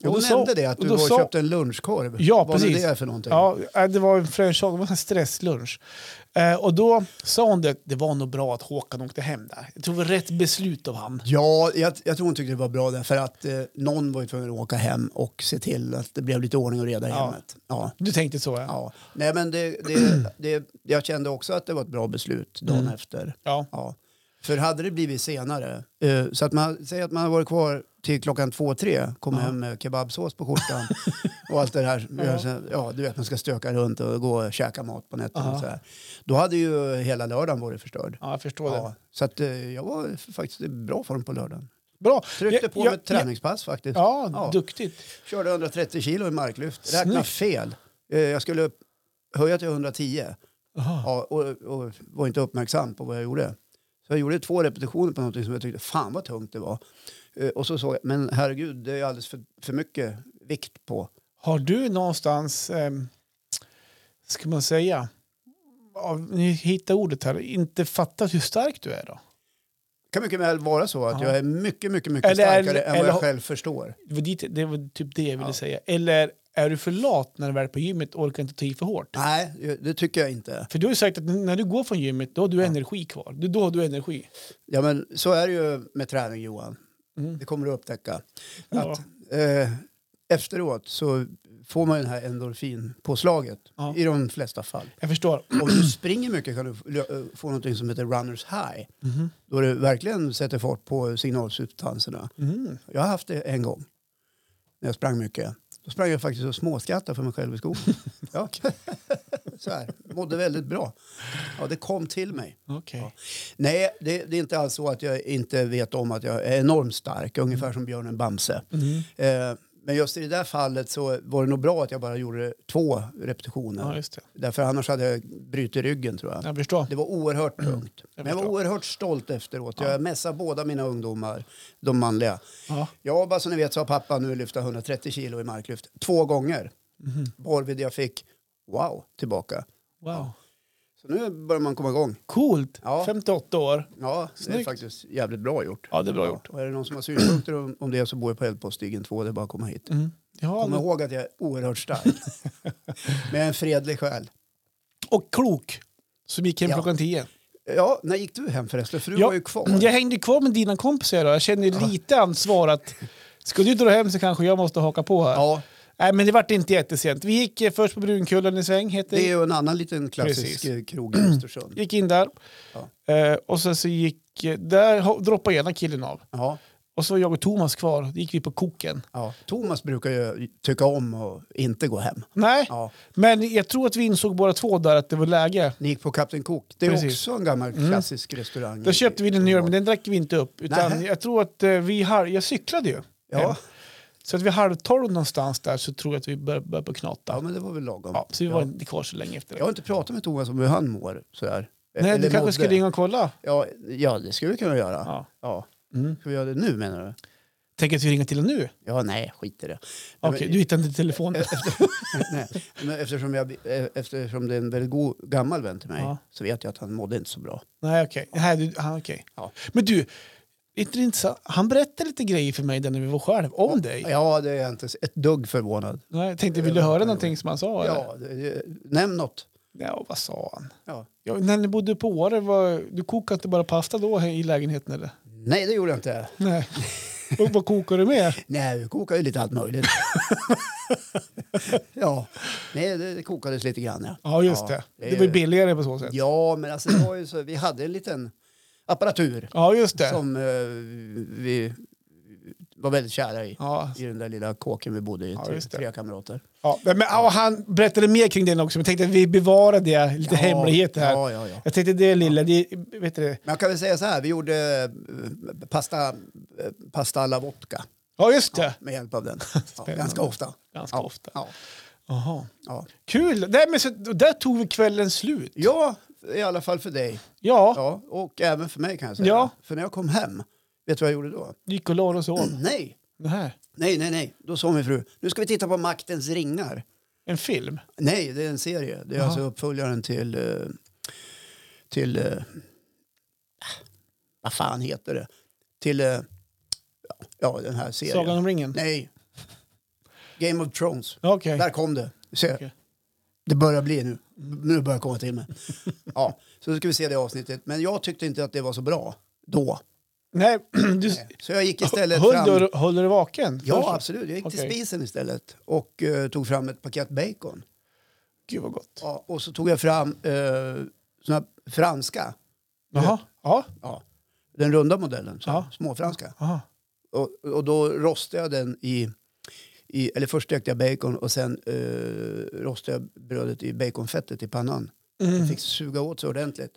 Speaker 2: Hon
Speaker 1: då
Speaker 2: nämnde
Speaker 1: sa-
Speaker 2: det, att
Speaker 1: och
Speaker 2: du
Speaker 1: då
Speaker 2: var och
Speaker 1: sa-
Speaker 2: köpte en lunchkorv.
Speaker 1: Ja,
Speaker 2: Vad nu
Speaker 1: precis.
Speaker 2: det är för någonting.
Speaker 1: Ja, eh, det var en french det var en stresslunch. Eh, och då sa hon det, att det var nog bra att Håkan åkte hem där. Jag tror det var rätt beslut av han.
Speaker 2: Ja, jag, jag tror hon tyckte det var bra därför att eh, någon var ju tvungen att åka hem och se till att det blev lite ordning och reda i
Speaker 1: Ja.
Speaker 2: hemmet. Ja.
Speaker 1: Du tänkte så ja.
Speaker 2: Ja. Nej, men det, det, det, jag kände också att det var ett bra beslut dagen
Speaker 1: Mm.
Speaker 2: efter.
Speaker 1: Ja.
Speaker 2: Ja. För hade det blivit senare, eh, så att man säger att man har varit kvar till klockan två, tre, kommer hem med kebabsås på skjortan och allt det här. Ja. du vet, man ska stöka runt och gå och käka mat på nätterna.
Speaker 1: Ja.
Speaker 2: Och så här. Då hade ju hela lördagen varit förstörd.
Speaker 1: ja, jag förstår det.
Speaker 2: Ja, så att, eh, jag var f- faktiskt i bra form på lördagen.
Speaker 1: Bra.
Speaker 2: Tryckte
Speaker 1: Jag-
Speaker 2: på
Speaker 1: jag-
Speaker 2: med ett träningspass faktiskt.
Speaker 1: Ja,
Speaker 2: Ja.
Speaker 1: duktigt.
Speaker 2: Körde 130 kilo i marklyft. Räkna
Speaker 1: Snyggt.
Speaker 2: fel. Eh, Jag skulle höja till 110
Speaker 1: Aha.
Speaker 2: ja, och, och var inte uppmärksam på vad jag gjorde. Så jag gjorde två repetitioner på någonting som jag tyckte fan vad tungt det var. Eh, Och så såg jag, men herregud det är alldeles för, för mycket vikt på.
Speaker 1: Har du någonstans, ehm, ska man säga, ja, nu hittar ordet här, inte fattat hur stark du är då?
Speaker 2: kan mycket väl vara så att
Speaker 1: Ja.
Speaker 2: jag är mycket, mycket, mycket
Speaker 1: Eller-
Speaker 2: starkare än vad
Speaker 1: eller-
Speaker 2: jag själv förstår.
Speaker 1: Det var, dit, det var typ det jag ville
Speaker 2: Ja.
Speaker 1: säga. Eller är du för lat när du väl är på gymmet och orkar inte ta i för hårt?
Speaker 2: Nej, det tycker jag inte.
Speaker 1: För du har ju sagt att när du går från gymmet, då har du energi kvar. Du- Då har du energi.
Speaker 2: Ja, men så är det ju med träning, Johan.
Speaker 1: Mm.
Speaker 2: Det kommer du upptäcka.
Speaker 1: Ja.
Speaker 2: Att, eh, efteråt så får man ju det här endorfinpåslaget
Speaker 1: Ja.
Speaker 2: i de flesta fall.
Speaker 1: Jag förstår.
Speaker 2: Om du springer mycket kan du f- lö- eh, få någonting som heter runners high.
Speaker 1: Mhm.
Speaker 2: Då du verkligen sätter fart på signalsubstanserna.
Speaker 1: Mm.
Speaker 2: Jag har haft det en gång när jag sprang mycket. Då sprang jag faktiskt och småskrattade för mig själv i skogen. ja. Så här. Mådde väldigt bra. Ja, det kom till mig.
Speaker 1: Okej.
Speaker 2: Ja. Nej, det, det är inte alls så att jag inte vet om att jag är enormt stark. Ungefär som björnen Bamse.
Speaker 1: Mm.
Speaker 2: Eh, men just i det där fallet så var det nog bra att jag bara gjorde två repetitioner.
Speaker 1: Ja, just det.
Speaker 2: Därför annars hade jag brutit ryggen tror jag.
Speaker 1: Jag förstår.
Speaker 2: Det var oerhört tungt. Men jag var
Speaker 1: Mm. förstår.
Speaker 2: oerhört stolt efteråt. Jag mässade båda mina ungdomar, de manliga.
Speaker 1: Ja.
Speaker 2: Jag bara som ni vet så har pappa nu lyft 130 kilo i marklyft två gånger.
Speaker 1: Mm.
Speaker 2: Varvid jag fick wow tillbaka.
Speaker 1: Wow.
Speaker 2: Så nu börjar man komma igång.
Speaker 1: Coolt!
Speaker 2: Ja.
Speaker 1: 58 år.
Speaker 2: Ja, det är
Speaker 1: Snyggt.
Speaker 2: faktiskt jävligt bra gjort.
Speaker 1: Ja, det är bra gjort.
Speaker 2: Och är det någon som har synpunkter om, om det så bor jag på Eldpoststigen 2, det är bara att komma hit.
Speaker 1: Mm. Jag har
Speaker 2: Kom
Speaker 1: aldrig...
Speaker 2: ihåg att jag är oerhört stark. Med en fredlig själ.
Speaker 1: Och klok, som gick hem
Speaker 2: Ja.
Speaker 1: klockan 10.
Speaker 2: Ja, när gick du hem förresten? För du
Speaker 1: Ja,
Speaker 2: var ju kvar.
Speaker 1: Jag hängde kvar med dina kompisar idag. Jag känner lite ansvar att ska du dra hem så kanske jag måste haka på här.
Speaker 2: Ja,
Speaker 1: Nej, men det vart inte jättesent. Vi gick eh, först på Brunkullen i sväng, heter
Speaker 2: Det är
Speaker 1: det.
Speaker 2: ju en annan liten klassisk
Speaker 1: Precis.
Speaker 2: eh, krog i Östersund.
Speaker 1: Gick in där. Eh, och sen så gick, eh, där ho- droppade ena killen av.
Speaker 2: Ja,
Speaker 1: Och så var jag och Thomas kvar. Då gick vi på koken.
Speaker 2: ja. Thomas brukar ju tycka om att inte gå hem.
Speaker 1: Nej,
Speaker 2: Ja.
Speaker 1: men jag tror att vi insåg båda två där att det var läge.
Speaker 2: Ni gick på Captain Cook. Det är
Speaker 1: Precis. Mm.
Speaker 2: också en gammal klassisk restaurang.
Speaker 1: Då köpte vi den öl, men den drack vi inte upp. Utan
Speaker 2: Nähä.
Speaker 1: jag tror att eh, vi har, jag cyklade ju. hem.
Speaker 2: Ja.
Speaker 1: Så att vi halv tolv någonstans där så tror jag att vi bör- började på knata.
Speaker 2: ja, men det var väl lagom.
Speaker 1: Ja, så vi
Speaker 2: Ja.
Speaker 1: var inte kvar så länge efter det.
Speaker 2: Jag har inte pratat med Thomas om hur han mår. Sådär.
Speaker 1: Nej,
Speaker 2: Eller
Speaker 1: du kanske
Speaker 2: mådde.
Speaker 1: ska ringa och kolla.
Speaker 2: Ja, ja, det skulle vi kunna göra. Ja.
Speaker 1: Ja. Mm.
Speaker 2: Ska vi göra det nu menar du?
Speaker 1: Tänker att vi ringer till honom nu?
Speaker 2: Ja, nej, skit i det.
Speaker 1: Okej,
Speaker 2: men-
Speaker 1: du hittar inte telefonen.
Speaker 2: nej. Men eftersom, jag, eh, eftersom det är en väldigt god, gammal vän till mig
Speaker 1: Ja.
Speaker 2: så vet jag att han mådde inte så bra.
Speaker 1: Nej, okej. Nej, du- ja, okej.
Speaker 2: Ja.
Speaker 1: Men du, är inte det intressant? han berättade lite grejer för mig där när vi var själv, om dig.
Speaker 2: Ja, det är jag inte ett dugg förvånad.
Speaker 1: Nej, jag tänkte, vill du höra någonting som han sa? Eller?
Speaker 2: Ja, det- det- nämn något.
Speaker 1: ja, vad sa han?
Speaker 2: Ja.
Speaker 1: Ja, när ni bodde på Åre, var, du kokade inte bara pasta då i lägenheten eller?
Speaker 2: Nej, det gjorde jag inte.
Speaker 1: Nej. vad, vad kokade du med?
Speaker 2: Nej, vi kokade ju lite allt möjligt. ja, nej, det det kokades lite grann. Ja,
Speaker 1: Ja, just det.
Speaker 2: är
Speaker 1: Det,
Speaker 2: ju-
Speaker 1: blir billigare på så sätt. Ja,
Speaker 2: Ja, men alltså, det var ju så, vi hade en liten apparatur
Speaker 1: just det.
Speaker 2: som eh, vi var väldigt kära i.
Speaker 1: Ja.
Speaker 2: I den där lilla kåken vi bodde i,
Speaker 1: Ja,
Speaker 2: tre,
Speaker 1: just det.
Speaker 2: tre kamrater.
Speaker 1: Ja, men, ja, han berättade mer kring den också, men jag tänkte att vi bevarar det, lite
Speaker 2: Ja,
Speaker 1: hemligheter här.
Speaker 2: Ja, ja, ja.
Speaker 1: Jag tänkte det lilla, det, vet du det?
Speaker 2: Men jag kan väl säga så här, vi gjorde eh, pasta, eh, pasta alla vodka
Speaker 1: Ja, just det.
Speaker 2: med hjälp av den. Ja,
Speaker 1: Spännande.
Speaker 2: ganska ofta.
Speaker 1: Ganska
Speaker 2: ja,
Speaker 1: ofta.
Speaker 2: Ja,
Speaker 1: Aha.
Speaker 2: ja.
Speaker 1: Kul! Nej, men så, där tog vi kvällen slut.
Speaker 2: Ja, i alla fall för dig.
Speaker 1: Ja,
Speaker 2: Ja, och även för mig kan jag säga.
Speaker 1: Ja.
Speaker 2: För när jag kom hem, vet du vad jag gjorde då?
Speaker 1: gick och la oss om.
Speaker 2: Nej,
Speaker 1: Det här.
Speaker 2: nej, nej, nej. Då sa min fru, nu ska vi titta på Maktens ringar.
Speaker 1: En film.
Speaker 2: Nej, det är en serie. Det är
Speaker 1: Jaha.
Speaker 2: alltså uppföljaren till... eh, Till... eh, Vad fan heter det? Till... eh, Ja, den här serien.
Speaker 1: Sagan om ringen.
Speaker 2: Nej. Game of Thrones.
Speaker 1: Ja, Okej.
Speaker 2: Där kom det. Du ser.
Speaker 1: Okej.
Speaker 2: Det börjar bli nu. Nu börjar jag komma till mig. Ja, så då ska vi se det avsnittet. Men jag tyckte inte att det var så bra då.
Speaker 1: Nej, du s-
Speaker 2: Så jag gick istället
Speaker 1: höll,
Speaker 2: fram...
Speaker 1: du, höll du vaken?
Speaker 2: Ja,
Speaker 1: Först.
Speaker 2: absolut. Jag gick till
Speaker 1: Okej.
Speaker 2: spisen istället och eh, tog fram ett paket bacon.
Speaker 1: Gud vad gott.
Speaker 2: Ja, och så tog jag fram eh, såna här franska.
Speaker 1: Jaha. Ja.
Speaker 2: Ja, den runda modellen, så,
Speaker 1: Ja.
Speaker 2: småfranska.
Speaker 1: Aha.
Speaker 2: Och, och då rostade jag den i, i... Eller först stekte jag bacon och sen eh, rostade jag brödet i baconfettet i pannan.
Speaker 1: Mm.
Speaker 2: Det fick suga åt sig ordentligt.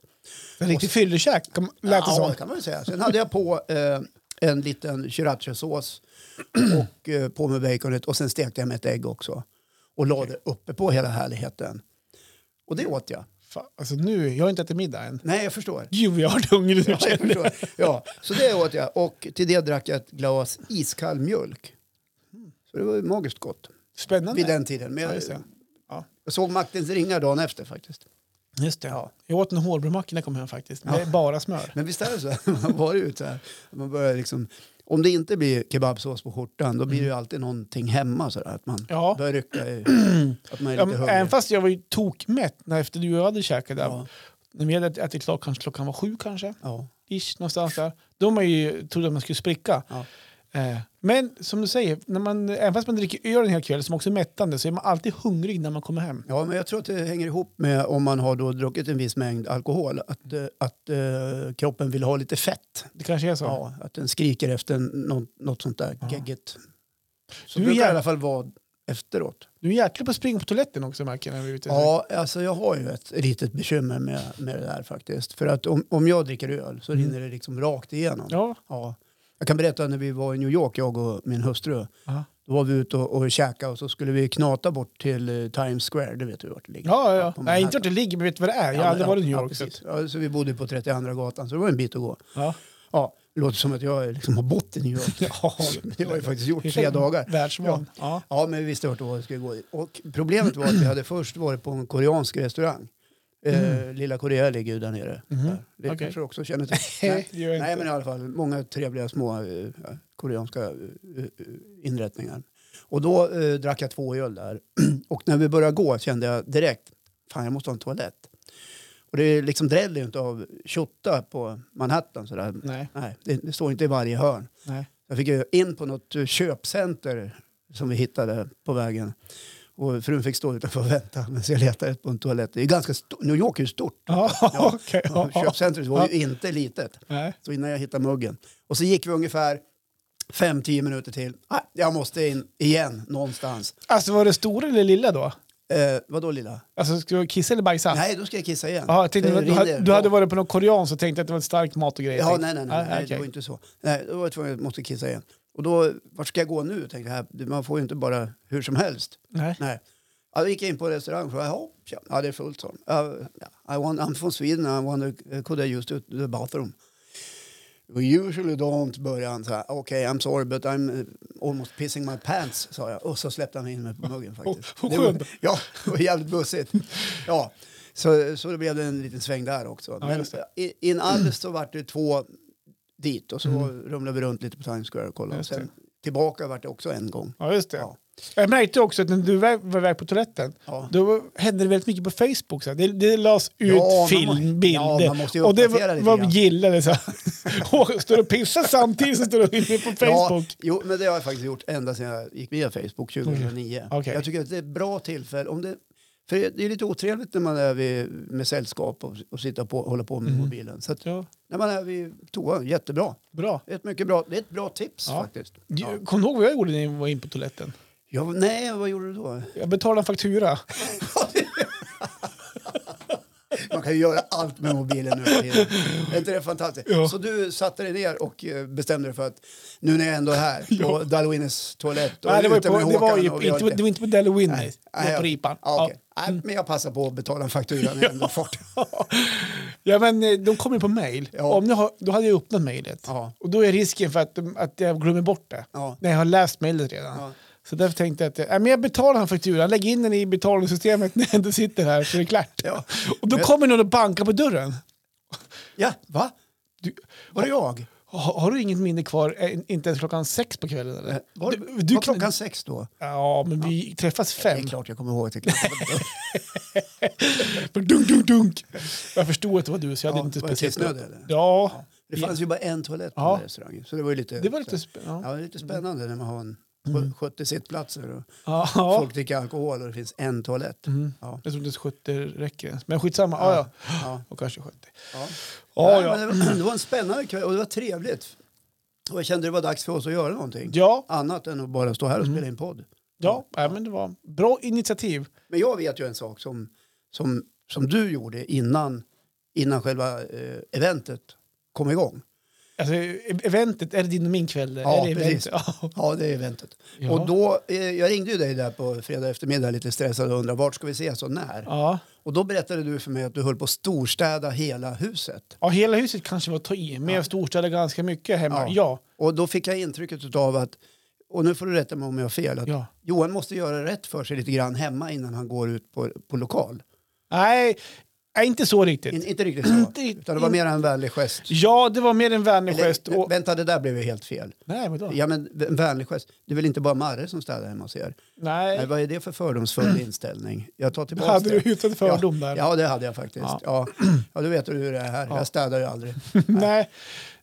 Speaker 1: En riktig fyllekäk kan- lät det
Speaker 2: ja,
Speaker 1: som.
Speaker 2: det kan man ju säga. Sen hade jag på eh, en liten srirachasås och eh, på med baconet och sen stekte jag med ett ägg också. Och la det uppe på hela härligheten. Och det åt jag.
Speaker 1: Fan, alltså nu, jag har inte ätit middag än.
Speaker 2: Nej, jag förstår.
Speaker 1: Gud vad jag har varit hungrig nu
Speaker 2: Ja, jag
Speaker 1: känner jag.
Speaker 2: förstår. Ja, så det åt jag. Och till det drack jag ett glas iskall mjölk. Så det var ju magiskt gott
Speaker 1: Spännande.
Speaker 2: vid den tiden. Men
Speaker 1: Ja,
Speaker 2: jag,
Speaker 1: just det. Ja.
Speaker 2: jag såg maktens ringar dagen efter faktiskt.
Speaker 1: Just det.
Speaker 2: Ja.
Speaker 1: Jag åt en hårdbrödmacka när jag kom hem faktiskt. Med
Speaker 2: Ja.
Speaker 1: bara smör.
Speaker 2: Men visst är det så? Man var ju ute här. Man börjar liksom, om det inte blir kebabsås på skjortan då blir det ju alltid någonting hemma sådär. Att man
Speaker 1: Mm. Ja.
Speaker 2: börjar rycka i, att man är lite
Speaker 1: Ja, men
Speaker 2: hungrig.
Speaker 1: även fast jag var ju tokmätt när efter du och jag hade käkat där.
Speaker 2: Ja.
Speaker 1: När vi hade ätit klart kanske klockan var sju kanske.
Speaker 2: Ja.
Speaker 1: Ish, någonstans där. Då man ju trodde att man skulle spricka.
Speaker 2: Ja.
Speaker 1: Eh, Men som du säger, när man, även fast man dricker öl en hel kväll som också är mättande så är man alltid hungrig när man kommer hem.
Speaker 2: Ja, men jag tror att det hänger ihop med om man har då druckit en viss mängd alkohol, att, eh, att eh, kroppen vill ha lite fett.
Speaker 1: Det kanske är så.
Speaker 2: Ja, att den skriker efter något, något sånt där gegget. Så
Speaker 1: Du är
Speaker 2: brukar det i
Speaker 1: jäv-
Speaker 2: alla fall vara efteråt.
Speaker 1: Du är jäklig på att springa på toaletten också märker jag när vi är ute.
Speaker 2: Ja, alltså jag har ju ett litet bekymmer med, med det där faktiskt. För att om, om jag dricker öl så rinner det liksom rakt igenom.
Speaker 1: Mm. Ja.
Speaker 2: Ja. Jag kan berätta när vi var i New York, jag och min hustru.
Speaker 1: Aha.
Speaker 2: Då var vi ute och, och käkade och så skulle vi knata bort till eh, Times Square, det vet du vart det ligger.
Speaker 1: Ja, ja, ja.
Speaker 2: på
Speaker 1: Nej, inte
Speaker 2: Manhattan.
Speaker 1: vart det ligger, men vet du vad det är? Jag har aldrig
Speaker 2: Ja,
Speaker 1: varit i New
Speaker 2: ja,
Speaker 1: York. så
Speaker 2: precis. Ja, så vi bodde på 32 gatan så det var en bit att gå.
Speaker 1: Ja.
Speaker 2: Ja, det låter som att jag liksom har bott i New York.
Speaker 1: Ja.
Speaker 2: Det har jag ju faktiskt gjort tre dagar.
Speaker 1: Världsvan. Ja.
Speaker 2: Ja, men vi visste vart det var vi skulle gå. Och problemet var att vi hade först varit på en koreansk restaurang. Eh, Lilla Korea ligger ju där nere. Där. Det
Speaker 1: Mm. Mhm. Okej.
Speaker 2: kanske du också känner till.
Speaker 1: Nej,
Speaker 2: Nej.
Speaker 1: det gör jag
Speaker 2: Nej,
Speaker 1: inte.
Speaker 2: men i alla fall många trevliga små eh, ja, koreanska eh, eh, inrättningar. Och då eh, drack jag två öl där. och när vi började gå kände jag direkt, fan jag måste ha en toalett. Och det liksom dräller ju inte av tjotta på Manhattan sådär.
Speaker 1: Nej.
Speaker 2: Nej, det, det står inte i varje hörn.
Speaker 1: Nej.
Speaker 2: Jag fick ju in på något eh, köpcenter som vi hittade på vägen. Och frun fick stå utanför och vänta medan jag letade på en toalett. Det är ganska stort. New York är ju stort.
Speaker 1: Ja, okej. Ja.
Speaker 2: Köpcentret var ju inte litet.
Speaker 1: Nej.
Speaker 2: Så innan jag hittade muggen. Och så gick vi ungefär 5-10 minuter till. Nej, jag måste in igen någonstans.
Speaker 1: Alltså var det stora eller lilla då?
Speaker 2: Eh, vadå lilla?
Speaker 1: Alltså ska du kissa eller bajsa?
Speaker 2: Nej, då ska jag kissa igen.
Speaker 1: Ja, jag tänkte,
Speaker 2: Det
Speaker 1: du, hade,
Speaker 2: rinner.
Speaker 1: du hade varit på någon koreansk och tänkte att det var ett starkt mat och grejer.
Speaker 2: Ja,
Speaker 1: Tänkte-
Speaker 2: nej, nej, nej, nej det
Speaker 1: okej.
Speaker 2: var inte så. Nej, då var jag tvungen, jag måste kissa igen. Och då, vart ska jag gå nu? Tänkte jag, här, man får ju inte bara hur som helst.
Speaker 1: Nej.
Speaker 2: Nej. Ja, då gick jag in på en restaurang och frågade, "Jaha, tja." ja det är fullt sån. I want, I'm from Sweden, I wonder, uh, could I use the- the bathroom? We usually don't, började han. så här. Okej, I'm sorry but I'm eh, almost pissing my pants, sa jag. Och så släppte han in mig på muggen faktiskt.
Speaker 1: Vad
Speaker 2: Det var-
Speaker 1: skönt.
Speaker 2: Ja, det var jävligt bussigt. Ja. Så, så det blev det en liten sväng där också.
Speaker 1: Ja,
Speaker 2: Men
Speaker 1: just det.
Speaker 2: i- in alles så vart det två dit och så rumlade vi runt lite på Times Square och kollade. Och
Speaker 1: Mm. Just det.
Speaker 2: sen tillbaka vart det också en gång.
Speaker 1: Ja, just det.
Speaker 2: Ja.
Speaker 1: Jag märkte också att när du var var iväg på toaletten,
Speaker 2: Ja.
Speaker 1: då hände det väldigt mycket på Facebook. Så här. det, det lades ut
Speaker 2: man må-
Speaker 1: filmbilder.
Speaker 2: ja, man måste ju
Speaker 1: och det
Speaker 2: uppdatera
Speaker 1: var,
Speaker 2: lite
Speaker 1: var
Speaker 2: grann.
Speaker 1: gillade. Så här. och står och pissar samtidigt som står och inne på Facebook.
Speaker 2: Ja, jo, men det har jag faktiskt gjort ända sedan jag gick med i Facebook 2009.
Speaker 1: Mm, Okej.
Speaker 2: Jag tycker att det är ett bra tillfälle. Om det, för det är lite otrevligt när man är vid, med sällskap och, och sitta på, hålla på
Speaker 1: Mm.
Speaker 2: med mobilen. Så att,
Speaker 1: Ja.
Speaker 2: när man är vid toan, jättebra.
Speaker 1: Bra.
Speaker 2: Ett mycket bra. Det är ett bra tips
Speaker 1: Ja.
Speaker 2: faktiskt.
Speaker 1: Ja.
Speaker 2: Ja.
Speaker 1: Kom du ihåg vad jag gjorde när jag var inne på toaletten?
Speaker 2: Ja, nej, vad gjorde du då?
Speaker 1: Jag betalade en faktura.
Speaker 2: Man kan ju göra allt med mobilen nu för tiden. Är inte det fantastiskt?
Speaker 1: Ja.
Speaker 2: Så du satte dig ner och eh, bestämde dig för att nu när jag ändå är här på
Speaker 1: Ja.
Speaker 2: Dalwinnes toalett och
Speaker 1: Nej, det var, ju
Speaker 2: ute
Speaker 1: på,
Speaker 2: med
Speaker 1: det var,
Speaker 2: Håkan
Speaker 1: ju
Speaker 2: och vi har
Speaker 1: inte,
Speaker 2: lite-
Speaker 1: det var inte på Delaware, nej. Det
Speaker 2: Nej,
Speaker 1: var på
Speaker 2: jag-
Speaker 1: Ripan.
Speaker 2: Ja, okej.
Speaker 1: Mm.
Speaker 2: Nej, men jag passar på att betala en faktura när jag ändå fart.
Speaker 1: Ja, men eh, de kommer ju på mejl.
Speaker 2: Ja.
Speaker 1: Om jag har, då hade jag öppnat mejlet.
Speaker 2: Ja.
Speaker 1: Och då är risken för att, de- att jag glömmer bort det.
Speaker 2: Ja.
Speaker 1: När jag har läst mejlet redan.
Speaker 2: Ja.
Speaker 1: Så därför tänkte jag att eh, nej, men jag betalar han fakturan. Lägg in den i betalningssystemet när jag ändå sitter här så är det klart.
Speaker 2: Ja.
Speaker 1: Och då kommer någon och bankar på dörren.
Speaker 2: Ja, va?
Speaker 1: Du,
Speaker 2: Var det jag?
Speaker 1: har, har du inget minne kvar? eh, Inte ens klockan sex på kvällen? Eller?
Speaker 2: Var,
Speaker 1: Eh, du, du
Speaker 2: var
Speaker 1: kan-
Speaker 2: klockan sex då?
Speaker 1: Ja, men vi träffas
Speaker 2: Det
Speaker 1: fem.
Speaker 2: är klart jag kommer ihåg att det är klockan.
Speaker 1: Dunk, dunk, dunk. Jag förstod att det var du, så jag hade
Speaker 2: Ja,
Speaker 1: inte
Speaker 2: var det
Speaker 1: speciellt...
Speaker 2: tidsnöd, eller?
Speaker 1: Ja.
Speaker 2: Det fanns ju bara en toalett på
Speaker 1: Ja.
Speaker 2: den här restaurangen. Så det var ju lite,
Speaker 1: Det var lite Mm. spännande.
Speaker 2: ja, det är lite spännande när man har en 70 sittplatser och
Speaker 1: Ja. Mm. Ja. Mm.
Speaker 2: folk dricker alkohol och det finns en toalett. Ja.
Speaker 1: Jag tror inte ens 70 räcker ens. Men skitsamma. Ja, ja.
Speaker 2: Ja.
Speaker 1: Och kanske 70.
Speaker 2: Ja.
Speaker 1: Ja,
Speaker 2: Nej,
Speaker 1: ja.
Speaker 2: Men det, var, det var en spännande kväll och det var trevligt. Och jag kände det var dags för oss att göra någonting.
Speaker 1: Ja, Mm.
Speaker 2: Annat än att bara stå här och spela in podd.
Speaker 1: ja. Nej, men det var bra initiativ.
Speaker 2: Men jag vet ju en sak som, som, som du gjorde innan, innan själva eh, eventet kom igång.
Speaker 1: Alltså, eventet, är det din och min kväll?
Speaker 2: Ja,
Speaker 1: är det
Speaker 2: precis.
Speaker 1: event? Ja.
Speaker 2: Ja, det är eventet.
Speaker 1: Ja.
Speaker 2: Och då, eh, jag ringde ju dig där på fredag eftermiddag lite stressad och undrade vart ska vi ses och när?
Speaker 1: Ja.
Speaker 2: Och då berättade du för mig att du höll på att storstäda hela huset.
Speaker 1: ja, hela huset kanske var att ta i, men jag storstädade ganska mycket hemma. Ja,
Speaker 2: Ja. Och då fick jag intrycket av att, och nu får du rätta mig om jag har fel, att
Speaker 1: Ja.
Speaker 2: Johan måste göra rätt för sig lite grann hemma innan han går ut på, på lokal.
Speaker 1: Nej, Nej, inte så
Speaker 2: In,
Speaker 1: riktigt.
Speaker 2: inte riktigt så.
Speaker 1: Inte-
Speaker 2: utan det var
Speaker 1: in-
Speaker 2: mer en vänlig gest.
Speaker 1: Ja, det var mer en vänlig
Speaker 2: Eller,
Speaker 1: gest. Och...
Speaker 2: Vänta, det där blev ju helt fel.
Speaker 1: Nej, vadå?
Speaker 2: Ja, men en vänlig gest. Det är väl inte bara Marre som städar hemma hos er? Nej,
Speaker 1: Nej, Mm.
Speaker 2: vad är det för fördomsfull inställning? Jag tar tillbaka
Speaker 1: hade
Speaker 2: det.
Speaker 1: du utan fördom
Speaker 2: ja,
Speaker 1: där?
Speaker 2: Ja, det hade jag faktiskt.
Speaker 1: Ja.
Speaker 2: Ja, ja. du vet hur det är här. Jag städar ju aldrig.
Speaker 1: Nej.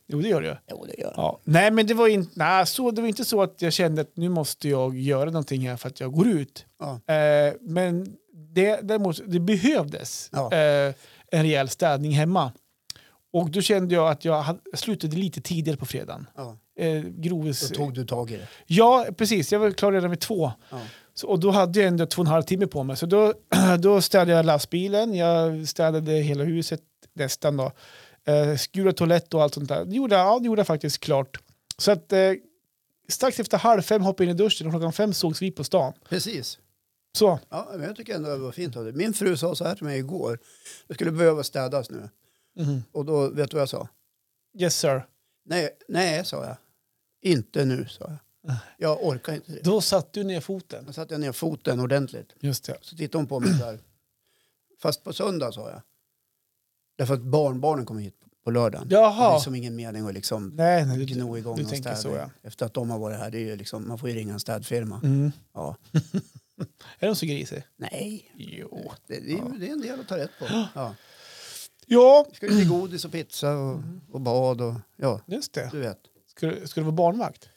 Speaker 1: Jo, det gör du.
Speaker 2: Jo, det gör jag.
Speaker 1: Ja. Nej, men det var, in, nej, så, det var inte så att jag kände att nu måste jag göra någonting här för att jag går ut.
Speaker 2: Ja.
Speaker 1: Eh, men det, däremot, det behövdes
Speaker 2: Ja.
Speaker 1: eh, en rejäl städning hemma. Och då kände jag att jag hade, jag slutade lite tidigare på fredagen.
Speaker 2: Ja.
Speaker 1: Eh, Groves...
Speaker 2: Då tog du tag i det.
Speaker 1: Ja, precis. Jag var klar redan vid två.
Speaker 2: Ja.
Speaker 1: Så, och då hade jag ändå två och en halv timme på mig. Så då, då städade jag lastbilen, jag städade hela huset nästan då. Eh, skurade toalett och allt sånt där. Det gjorde, jag- ja, det gjorde jag faktiskt klart. Så att eh, strax efter halv fem hoppade jag in i duschen och klockan fem sågs vi på stan.
Speaker 2: Precis.
Speaker 1: Så,
Speaker 2: Ja, men jag tycker ändå det var fint av dig. Min fru sa så här till mig igår. Det skulle behöva städas nu.
Speaker 1: mhm.
Speaker 2: Och då, vet du vad jag sa?
Speaker 1: yes sir.
Speaker 2: Nej, nej, sa jag. Inte nu, sa jag. Jag orkar inte det.
Speaker 1: Ah. Då satte du ner foten.
Speaker 2: Då satte jag ner foten ordentligt.
Speaker 1: Just det.
Speaker 2: Så tittade hon på mig där. Fast på söndag, sa jag. Därför att barnbarnen kommer hit på lördagen. Det är
Speaker 1: Jaha.
Speaker 2: som ingen mening att liksom
Speaker 1: Nej, nej, du,
Speaker 2: gno igång
Speaker 1: du
Speaker 2: någon
Speaker 1: tänker
Speaker 2: städning.
Speaker 1: så ja.
Speaker 2: Efter att de har varit här, det är ju liksom, man får ju ringa en städfirma.
Speaker 1: Mm.
Speaker 2: Ja.
Speaker 1: Är de så grisiga?
Speaker 2: Nej,
Speaker 1: Jo.
Speaker 2: det, det, är-
Speaker 1: Ja.
Speaker 2: det är en del att ta rätt på. Ja.
Speaker 1: Ja,
Speaker 2: Vi ska ju till godis och pizza och, och bad och ja,
Speaker 1: just det.
Speaker 2: du vet.
Speaker 1: Ska, du- ska du vara barnvakt?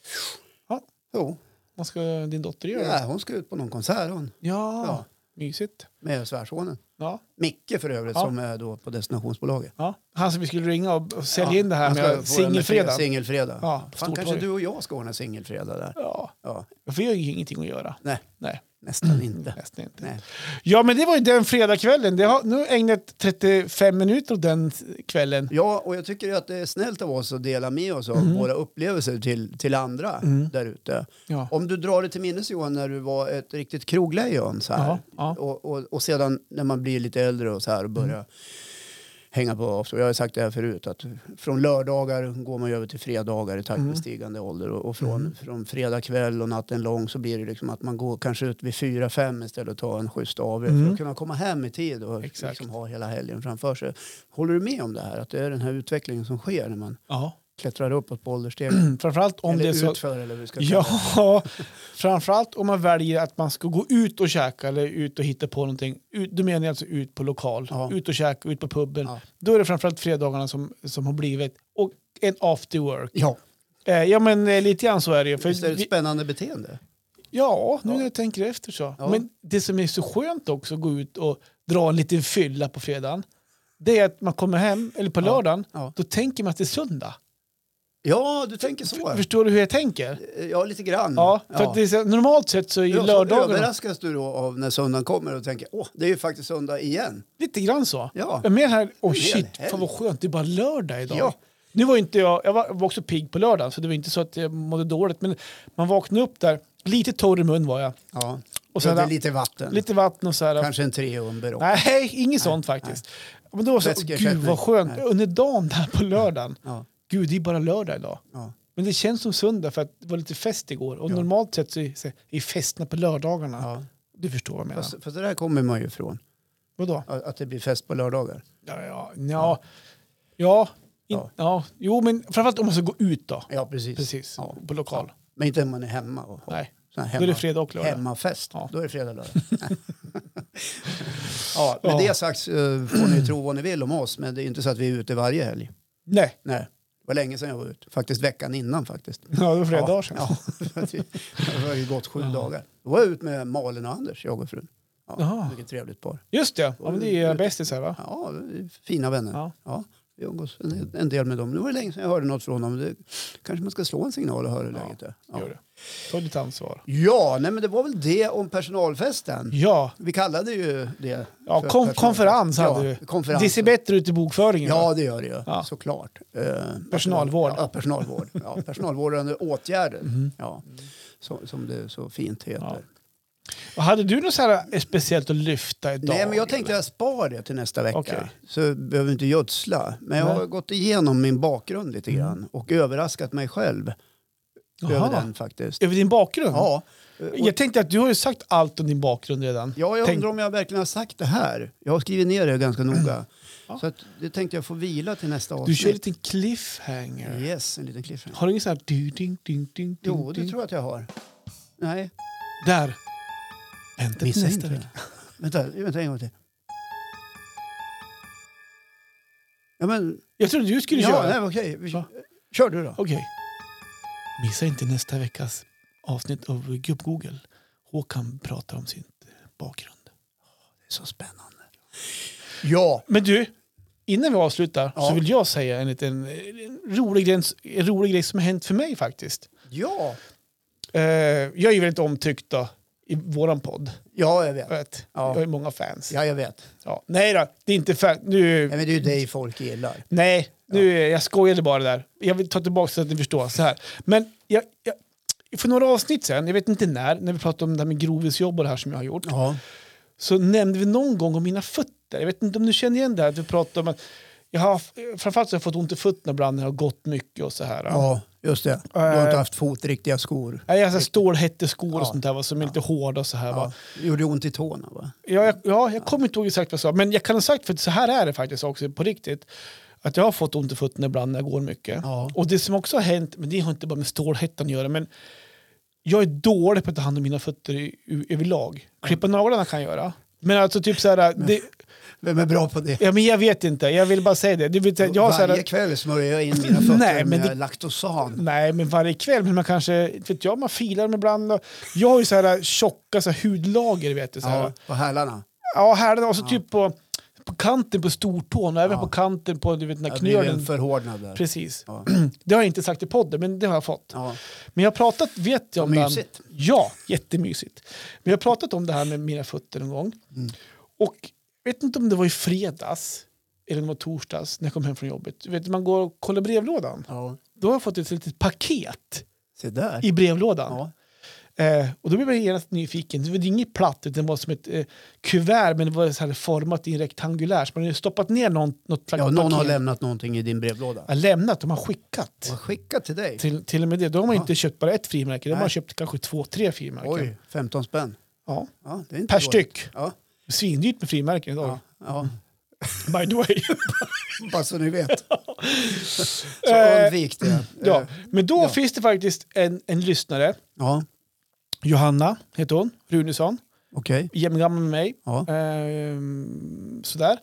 Speaker 2: Jo,
Speaker 1: Vad ska din dotter göra?
Speaker 2: ja, hon ska ut på någon konsert hon,
Speaker 1: Ja,
Speaker 2: Ja.
Speaker 1: mysigt.
Speaker 2: med svärsonen.
Speaker 1: Ja.
Speaker 2: Micke för övrigt
Speaker 1: Ja.
Speaker 2: som är då på destinationsbolaget.
Speaker 1: Ja. Han som vi skulle ringa och och sälja
Speaker 2: Ja,
Speaker 1: in det här
Speaker 2: han ska
Speaker 1: med
Speaker 2: få den med
Speaker 1: singelfredag.
Speaker 2: Singelfredag.
Speaker 1: Ja, på
Speaker 2: Fan, kanske
Speaker 1: Stortorget.
Speaker 2: du och jag ska ordna singelfredag där.
Speaker 1: Ja,
Speaker 2: Ja,
Speaker 1: för jag har ju ingenting att göra.
Speaker 2: nej,
Speaker 1: Nej,
Speaker 2: nästan inte.
Speaker 1: nästan inte.
Speaker 2: Nej.
Speaker 1: Ja, men det var ju den fredagskvällen. Det har, nu har jag ägnat 35 minuter åt den kvällen.
Speaker 2: Ja, och jag tycker ju att det är snällt av oss att dela med oss av våra upplevelser till, till andra där ute.
Speaker 1: Ja.
Speaker 2: Om du drar det till minnes Johan, när du var ett riktigt kroglejon så här.
Speaker 1: Ja, ja. Mm.
Speaker 2: Och, och, och sedan när man blir lite äldre och så här och börjar hänga på after. Jag har ju sagt det här förut att från lördagar går man ju över till fredagar i takt
Speaker 1: Mm.
Speaker 2: med stigande ålder. Och, och från, från fredag kväll och natten lång så blir det liksom att man går kanske ut vid fyra, fem istället och tar en schysst AW för att kunna komma hem i tid och
Speaker 1: Mm. Exakt.
Speaker 2: liksom ha hela helgen framför sig. Håller du med om det här? Att det är den här utvecklingen som sker när man
Speaker 1: Ja.
Speaker 2: klättrar uppåt på ålderstegen?
Speaker 1: Framförallt Mm. om
Speaker 2: eller
Speaker 1: det är så...
Speaker 2: utför eller hur vi ska kalla det.
Speaker 1: Ja, framförallt om man väljer att man ska gå ut och käka eller ut och hitta på någonting. Ut, då menar jag alltså ut på lokal,
Speaker 2: Ja.
Speaker 1: ut och käka, ut på puben.
Speaker 2: Ja.
Speaker 1: Då är det framförallt fredagarna som, som har blivit. Och en after work.
Speaker 2: Ja,
Speaker 1: Eh, ja, men eh, lite grann så är det ju. För
Speaker 2: visst är det
Speaker 1: vi-
Speaker 2: ett spännande beteende?
Speaker 1: Ja, nu
Speaker 2: Ja.
Speaker 1: när jag tänker efter så.
Speaker 2: Ja.
Speaker 1: Men det som är så skönt också att gå ut och dra en liten fylla på fredagen, det är att man kommer hem, eller på
Speaker 2: Ja.
Speaker 1: lördagen,
Speaker 2: Ja.
Speaker 1: då tänker man att det är söndag.
Speaker 2: Ja, du tänker så. Mm,
Speaker 1: F- Förstår du hur jag tänker?
Speaker 2: Eh, Ja, lite grann.
Speaker 1: Ja, för Att det är så, normalt sett så är ju
Speaker 2: Ja, alltså- så
Speaker 1: lördagarna
Speaker 2: överraskas du då av när söndagen kommer och tänker åh, det är ju faktiskt söndag igen.
Speaker 1: lite grann så.
Speaker 2: Ja,
Speaker 1: Jag menar här, oh
Speaker 2: Det är en
Speaker 1: shit,
Speaker 2: helg.
Speaker 1: fan vad skönt, det är bara lördag idag.
Speaker 2: Ja.
Speaker 1: Nu var ju inte jag, jag var, var också pigg på lördagen, så det var inte så att jag mådde dåligt, men man vaknade upp där, lite torr i mun var jag,
Speaker 2: ja.
Speaker 1: Och
Speaker 2: och
Speaker 1: sen-
Speaker 2: sen lite vatten.
Speaker 1: lite vatten och så här.
Speaker 2: Kanske en tre under också.
Speaker 1: Nej, inget sånt faktiskt. Men då var det så,
Speaker 2: Vätskeersättning.
Speaker 1: gud vad skönt, under dagen där på lördagen.
Speaker 2: Ja,
Speaker 1: Gud, det är bara lördag idag.
Speaker 2: ja.
Speaker 1: Men det känns som söndag för att det var lite fest igår. Och
Speaker 2: Ja.
Speaker 1: normalt sett så är så är festerna på lördagarna.
Speaker 2: Ja.
Speaker 1: Du förstår vad jag menar.
Speaker 2: Fast, fast det där kommer man ju ifrån,
Speaker 1: Vadå?
Speaker 2: att att det blir fest på lördagar.
Speaker 1: Ja, ja, ja. ja. In, ja.
Speaker 2: Ja.
Speaker 1: Jo, men framförallt om man ska gå ut då.
Speaker 2: Ja, precis.
Speaker 1: Precis,
Speaker 2: Ja.
Speaker 1: på lokal.
Speaker 2: Men inte när man är hemma och har
Speaker 1: Nej,
Speaker 2: sån här
Speaker 1: då
Speaker 2: hemma,
Speaker 1: är det fredag och lördag.
Speaker 2: hemmafest.
Speaker 1: Ja.
Speaker 2: Då är det fredag lördag. ja, med
Speaker 1: Ja.
Speaker 2: det sagt eh, får ni tro vad ni vill om oss, men det är ju inte så att vi är ute varje helg.
Speaker 1: Nej,
Speaker 2: Nej, det var länge sedan jag var ute. Faktiskt veckan innan faktiskt.
Speaker 1: ja, det var fredag ja. sedan.
Speaker 2: Ja, ja. det har ju gått sju dagar. Då var jag ute med Malin och Anders, jag och frun.
Speaker 1: Jaha.
Speaker 2: Ja, vilket trevligt par.
Speaker 1: Just det, ja, men det är era bästisar va?
Speaker 2: Ja, vi är fina vänner.
Speaker 1: Ja.
Speaker 2: Ja. vi umgås en, en del med dem. Nu var det länge sedan jag hörde något från dem. Det, kanske man ska slå en signal och höra hur
Speaker 1: Ja,
Speaker 2: läget är.
Speaker 1: Gör
Speaker 2: Ja,
Speaker 1: det. Ta ditt ansvar.
Speaker 2: ja nej, men det var väl det om personalfesten.
Speaker 1: Ja,
Speaker 2: Vi kallade ju det.
Speaker 1: ja
Speaker 2: för
Speaker 1: kon-
Speaker 2: personalfest.
Speaker 1: konferens hade
Speaker 2: ja,
Speaker 1: du.
Speaker 2: konferens.
Speaker 1: Det ser bättre ut i bokföringen. va?
Speaker 2: Ja, det gör det ju.
Speaker 1: Ja.
Speaker 2: Såklart. Eh,
Speaker 1: Personalvård. Mhm.
Speaker 2: Ja, personalvård. Ja, personalvårdande åtgärder. Ja, så, som det så fint heter.
Speaker 1: Ja. Och hade du något så här eh, speciellt att lyfta idag?
Speaker 2: Nej, men jag tänkte
Speaker 1: eller?
Speaker 2: jag spar det till nästa vecka.
Speaker 1: Okej.
Speaker 2: Så behöver vi inte gödsla. Men jag har
Speaker 1: Nej. Mm.
Speaker 2: gått igenom min bakgrund lite grann och överraskat mig själv
Speaker 1: Jaha.
Speaker 2: över den faktiskt.
Speaker 1: Över din bakgrund?
Speaker 2: Ja. Eh, Och,
Speaker 1: Jag tänkte att du har ju sagt allt om din bakgrund redan.
Speaker 2: ja, jag
Speaker 1: Tänk-
Speaker 2: undrar om jag verkligen har sagt det här. Jag har skrivit ner det ganska noga.
Speaker 1: Ja.
Speaker 2: Så att, det tänkte jag få vila till nästa
Speaker 1: Du
Speaker 2: avsnitt.
Speaker 1: kör en liten cliffhanger.
Speaker 2: Yes, en liten cliffhanger.
Speaker 1: Har du ingen sån här... Ding, ding, ding, ding,
Speaker 2: Jo, det
Speaker 1: ding?
Speaker 2: tror jag att jag har. Nej,
Speaker 1: Där! Vänta till
Speaker 2: missa
Speaker 1: nästa
Speaker 2: inte
Speaker 1: vecka.
Speaker 2: det. Vänta, vänta en gång till. Ja, men...
Speaker 1: Jag trodde du skulle
Speaker 2: ja,
Speaker 1: köra.
Speaker 2: Nej, okej. Vi-
Speaker 1: Va?
Speaker 2: Kör du då.
Speaker 1: Okej. Missa inte nästa veckas avsnitt av Gubb-Google. Håkan pratar om sin bakgrund.
Speaker 2: Så spännande. Ja,
Speaker 1: Men du, innan vi avslutar
Speaker 2: Ja.
Speaker 1: så vill jag säga en liten en rolig, grej, en rolig grej som har hänt för mig faktiskt.
Speaker 2: ja.
Speaker 1: Eh, jag är ju väldigt omtyckt då, i våran podd.
Speaker 2: Ja, jag vet.
Speaker 1: Vet.
Speaker 2: Ja.
Speaker 1: Jag har ju många fans. Ja.
Speaker 2: Ja, jag vet.
Speaker 1: Nej då, det är inte fan. Nu,
Speaker 2: Nej,
Speaker 1: nej,
Speaker 2: men det är ju dig folk gillar.
Speaker 1: nu, jag skojade bara där. Jag vill ta tillbaka så att ni förstår. Så här. Men jag, jag, för några avsnitt sen, jag vet inte när, när vi pratade om det här med grovisjobb och det här som jag har gjort.
Speaker 2: Ja.
Speaker 1: så nämnde vi någon gång om mina fötter. Jag vet inte om du känner igen det här att vi pratade om att jag har, framförallt så har jag fått ont i fötterna ibland när jag har gått mycket och så här.
Speaker 2: ja, just det. Du har
Speaker 1: Eh.
Speaker 2: inte haft fotriktiga skor.
Speaker 1: Nej, Jag har så här stålhätteskor och
Speaker 2: Ja.
Speaker 1: sånt där va, som är lite hårda och så här.
Speaker 2: Ja.
Speaker 1: Va.
Speaker 2: Det gjorde ont i tårna, va?
Speaker 1: Ja, jag, ja, jag kommer inte ihåg exakt vad jag sa, men jag kan ha sagt för att så här är det faktiskt också på riktigt. Att jag har fått ont i fötterna ibland när jag går mycket.
Speaker 2: Ja.
Speaker 1: Och det som också har hänt, men det har inte bara med stålhättan att göra, men jag är dålig på att ta hand om mina fötter i, i, överlag. Klippa naglarna kan jag göra. Men alltså typ så här, det,
Speaker 2: Vem är bra på det?
Speaker 1: Ja, men jag vet inte, jag vill bara säga det. Du vet, jag har så
Speaker 2: Varje
Speaker 1: här,
Speaker 2: kväll smörjer jag in mina fötter
Speaker 1: Nej, men
Speaker 2: med
Speaker 1: det-
Speaker 2: laktosan.
Speaker 1: nej, men varje kväll, men man kanske, inte vet jag, man filar dem ibland. Och, jag har ju så här tjocka så här, hudlager, vet du. Så här.
Speaker 2: Ja, på hälarna.
Speaker 1: Ja, här och så typ på, på kanten på stortån och även
Speaker 2: Ja.
Speaker 1: på kanten på du vet, den här
Speaker 2: Jag blir en
Speaker 1: knölen.
Speaker 2: förhårdnad där.
Speaker 1: Precis. Mm.
Speaker 2: Ja.
Speaker 1: Det har jag inte sagt i podden, men det har jag fått.
Speaker 2: Ja.
Speaker 1: Men jag har pratat, vet jag om
Speaker 2: Mysigt.
Speaker 1: det här. Ja, jättemysigt. Men jag har pratat om det här med mina fötter en gång.
Speaker 2: Mm.
Speaker 1: Och jag vet inte om det var i fredags eller om det var torsdags när jag kom hem från jobbet. Du vet, man går och kollar brevlådan.
Speaker 2: Ja.
Speaker 1: Då har jag fått ett litet paket
Speaker 2: Se där.
Speaker 1: i brevlådan.
Speaker 2: Ja.
Speaker 1: Eh, och då blev jag genast nyfiken. Det var inget platt, utan det var som ett eh, kuvert, men det var så här format i en rektangulär. Så man hade stoppat ner någon, något
Speaker 2: Ja, någon har lämnat någonting i din brevlåda.
Speaker 1: Ja, lämnat, de har skickat.
Speaker 2: Vad skickat till dig?
Speaker 1: Till, till och med det. Då har man inte köpt bara ett frimärke, då har
Speaker 2: Nej.
Speaker 1: man köpt kanske två, tre frimärken.
Speaker 2: Oj, 15 spänn.
Speaker 1: Ja.
Speaker 2: Ja, det är inte
Speaker 1: Per
Speaker 2: dåligt.
Speaker 1: styck.
Speaker 2: Ja,
Speaker 1: Svindyrt med frimärken idag.
Speaker 2: ja, ja.
Speaker 1: By the way.
Speaker 2: Bara så ni vet. Så
Speaker 1: Eh,
Speaker 2: undvik det.
Speaker 1: ja.
Speaker 2: Eh,
Speaker 1: Men då
Speaker 2: ja.
Speaker 1: finns det faktiskt en, en lyssnare,
Speaker 2: Ja,
Speaker 1: Johanna heter hon, Runesson,
Speaker 2: okej.
Speaker 1: jämngammal med mig.
Speaker 2: Ja.
Speaker 1: Ehm, sådär.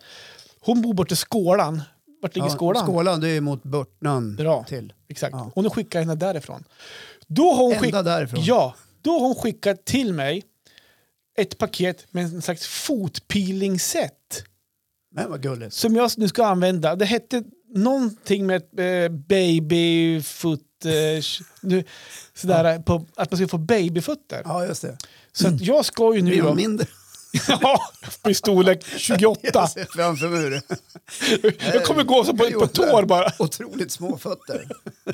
Speaker 1: Hon bor borta i Skålan. Vart ligger
Speaker 2: Ja,
Speaker 1: Skålan?
Speaker 2: Skålan, det är mot Börtnan
Speaker 1: Bra.
Speaker 2: till.
Speaker 1: Exakt.
Speaker 2: Ja.
Speaker 1: Och nu skickar jag henne därifrån. Då har hon
Speaker 2: Ända
Speaker 1: skickat,
Speaker 2: därifrån.
Speaker 1: ja, då har hon skickat till mig ett paket med en slags fotpeelingset
Speaker 2: Men vad gulligt.
Speaker 1: som jag nu ska använda. Det hette någonting med eh, babyfoot... Eh, nu, sådär, på, att man ska få babyfötter.
Speaker 2: Ja, just det.
Speaker 1: Så att jag ska ju nu...
Speaker 2: Blir de
Speaker 1: då-
Speaker 2: mindre?
Speaker 1: ja, i storlek 28.
Speaker 2: Jag ser framför mig hur-
Speaker 1: Jag kommer gå så på, på tår bara.
Speaker 2: Otroligt små fötter.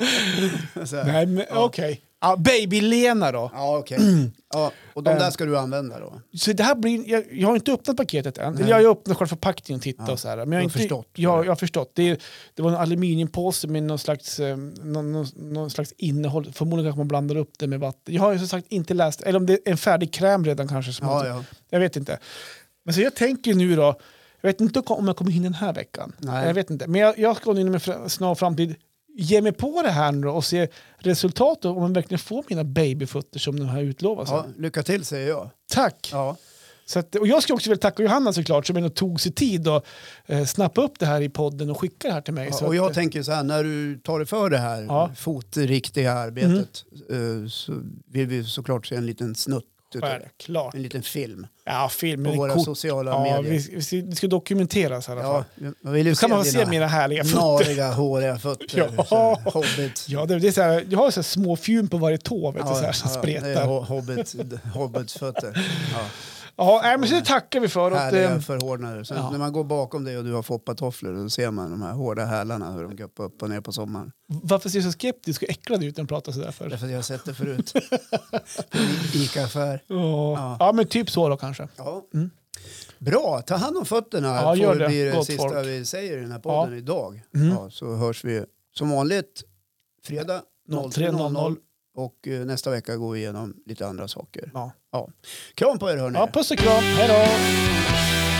Speaker 2: Så här.
Speaker 1: Nej, men okej. Ja, Baby-Lena då.
Speaker 2: Ja, okej. Ja, och
Speaker 1: Eh.
Speaker 2: de där ska du använda då?
Speaker 1: Så det här blir, jag, jag har inte öppnat paketet än. Eller Jag har ju öppnat själva förpackningen och tittat och så här. Men jag
Speaker 2: har
Speaker 1: har inte,
Speaker 2: förstått.
Speaker 1: Ja, jag har förstått. Det, är- det var en aluminiumpåse med någon slags, eh, någon, någon, någon slags innehåll. Förmodligen kanske man blandar upp det med vatten. Jag har ju som sagt inte läst, eller om det är en färdig kräm redan kanske. Som
Speaker 2: Ja,
Speaker 1: har-
Speaker 2: ja.
Speaker 1: Jag vet inte. Men så jag tänker nu då, jag vet inte om jag kommer hinna den här veckan.
Speaker 2: Nej.
Speaker 1: Jag vet inte. Men jag, jag ska inom en fra- snar framtid ge mig på det här nu då och se resultatet om man verkligen får mina babyfötter som de här utlovas.
Speaker 2: Ja, lycka till säger jag.
Speaker 1: Tack!
Speaker 2: Ja.
Speaker 1: Så att, och jag ska också väl tacka Johanna såklart som ändå tog sig tid att eh, snappa upp det här i podden och skicka det här till mig.
Speaker 2: Ja,
Speaker 1: så
Speaker 2: och
Speaker 1: att,
Speaker 2: jag
Speaker 1: eh,
Speaker 2: tänker så här, när du tar dig för det här
Speaker 1: Ja. Mm.
Speaker 2: fotriktiga arbetet eh, så vill vi såklart se en liten snutt utav det.
Speaker 1: Självklart.
Speaker 2: En liten film
Speaker 1: Ja, filmen
Speaker 2: på
Speaker 1: är
Speaker 2: våra
Speaker 1: kort.
Speaker 2: sociala
Speaker 1: Ja,
Speaker 2: medier.
Speaker 1: vi, vi, ska- det ska dokumenteras i alla fall.
Speaker 2: Ja, jag vill ju
Speaker 1: Då kan man se
Speaker 2: dina
Speaker 1: mina härliga fötter.
Speaker 2: nariga, håriga fötter.
Speaker 1: Ja.
Speaker 2: så här, Hobbit.
Speaker 1: Ja, det, det är så här, jag har så här små fjun på varje tå vet du, så här, som
Speaker 2: det är
Speaker 1: spretar.
Speaker 2: ho- hobbit, hobbits fötter. Ja,
Speaker 1: Ja, nej, men så det tackar vi för. Att,
Speaker 2: härliga
Speaker 1: eh,
Speaker 2: förhårdnader. Så
Speaker 1: ja.
Speaker 2: När man går bakom dig och du har foppatofflor då ser man de här hårda hälarna hur de guppar upp och ner på sommaren.
Speaker 1: varför ser du så skeptisk och äcklad ut när du pratar sådär för?
Speaker 2: Därför att jag har sett det förut. På en Ica-affär.
Speaker 1: Ja.
Speaker 2: Ja.
Speaker 1: ja, men typ så då kanske.
Speaker 2: Ja. Bra, ta hand om fötterna.
Speaker 1: Ja, gör
Speaker 2: får
Speaker 1: det.
Speaker 2: bli det
Speaker 1: Gott
Speaker 2: sista
Speaker 1: folk.
Speaker 2: vi säger i den här podden
Speaker 1: Ja.
Speaker 2: idag.
Speaker 1: Mm.
Speaker 2: Ja, så hörs vi som vanligt fredag
Speaker 1: 03.00.
Speaker 2: 03.00 Och eh, nästa vecka går vi igenom lite andra saker.
Speaker 1: Ja.
Speaker 2: Ja. Kram på er hörni!
Speaker 1: ja, puss och kram. Hej då!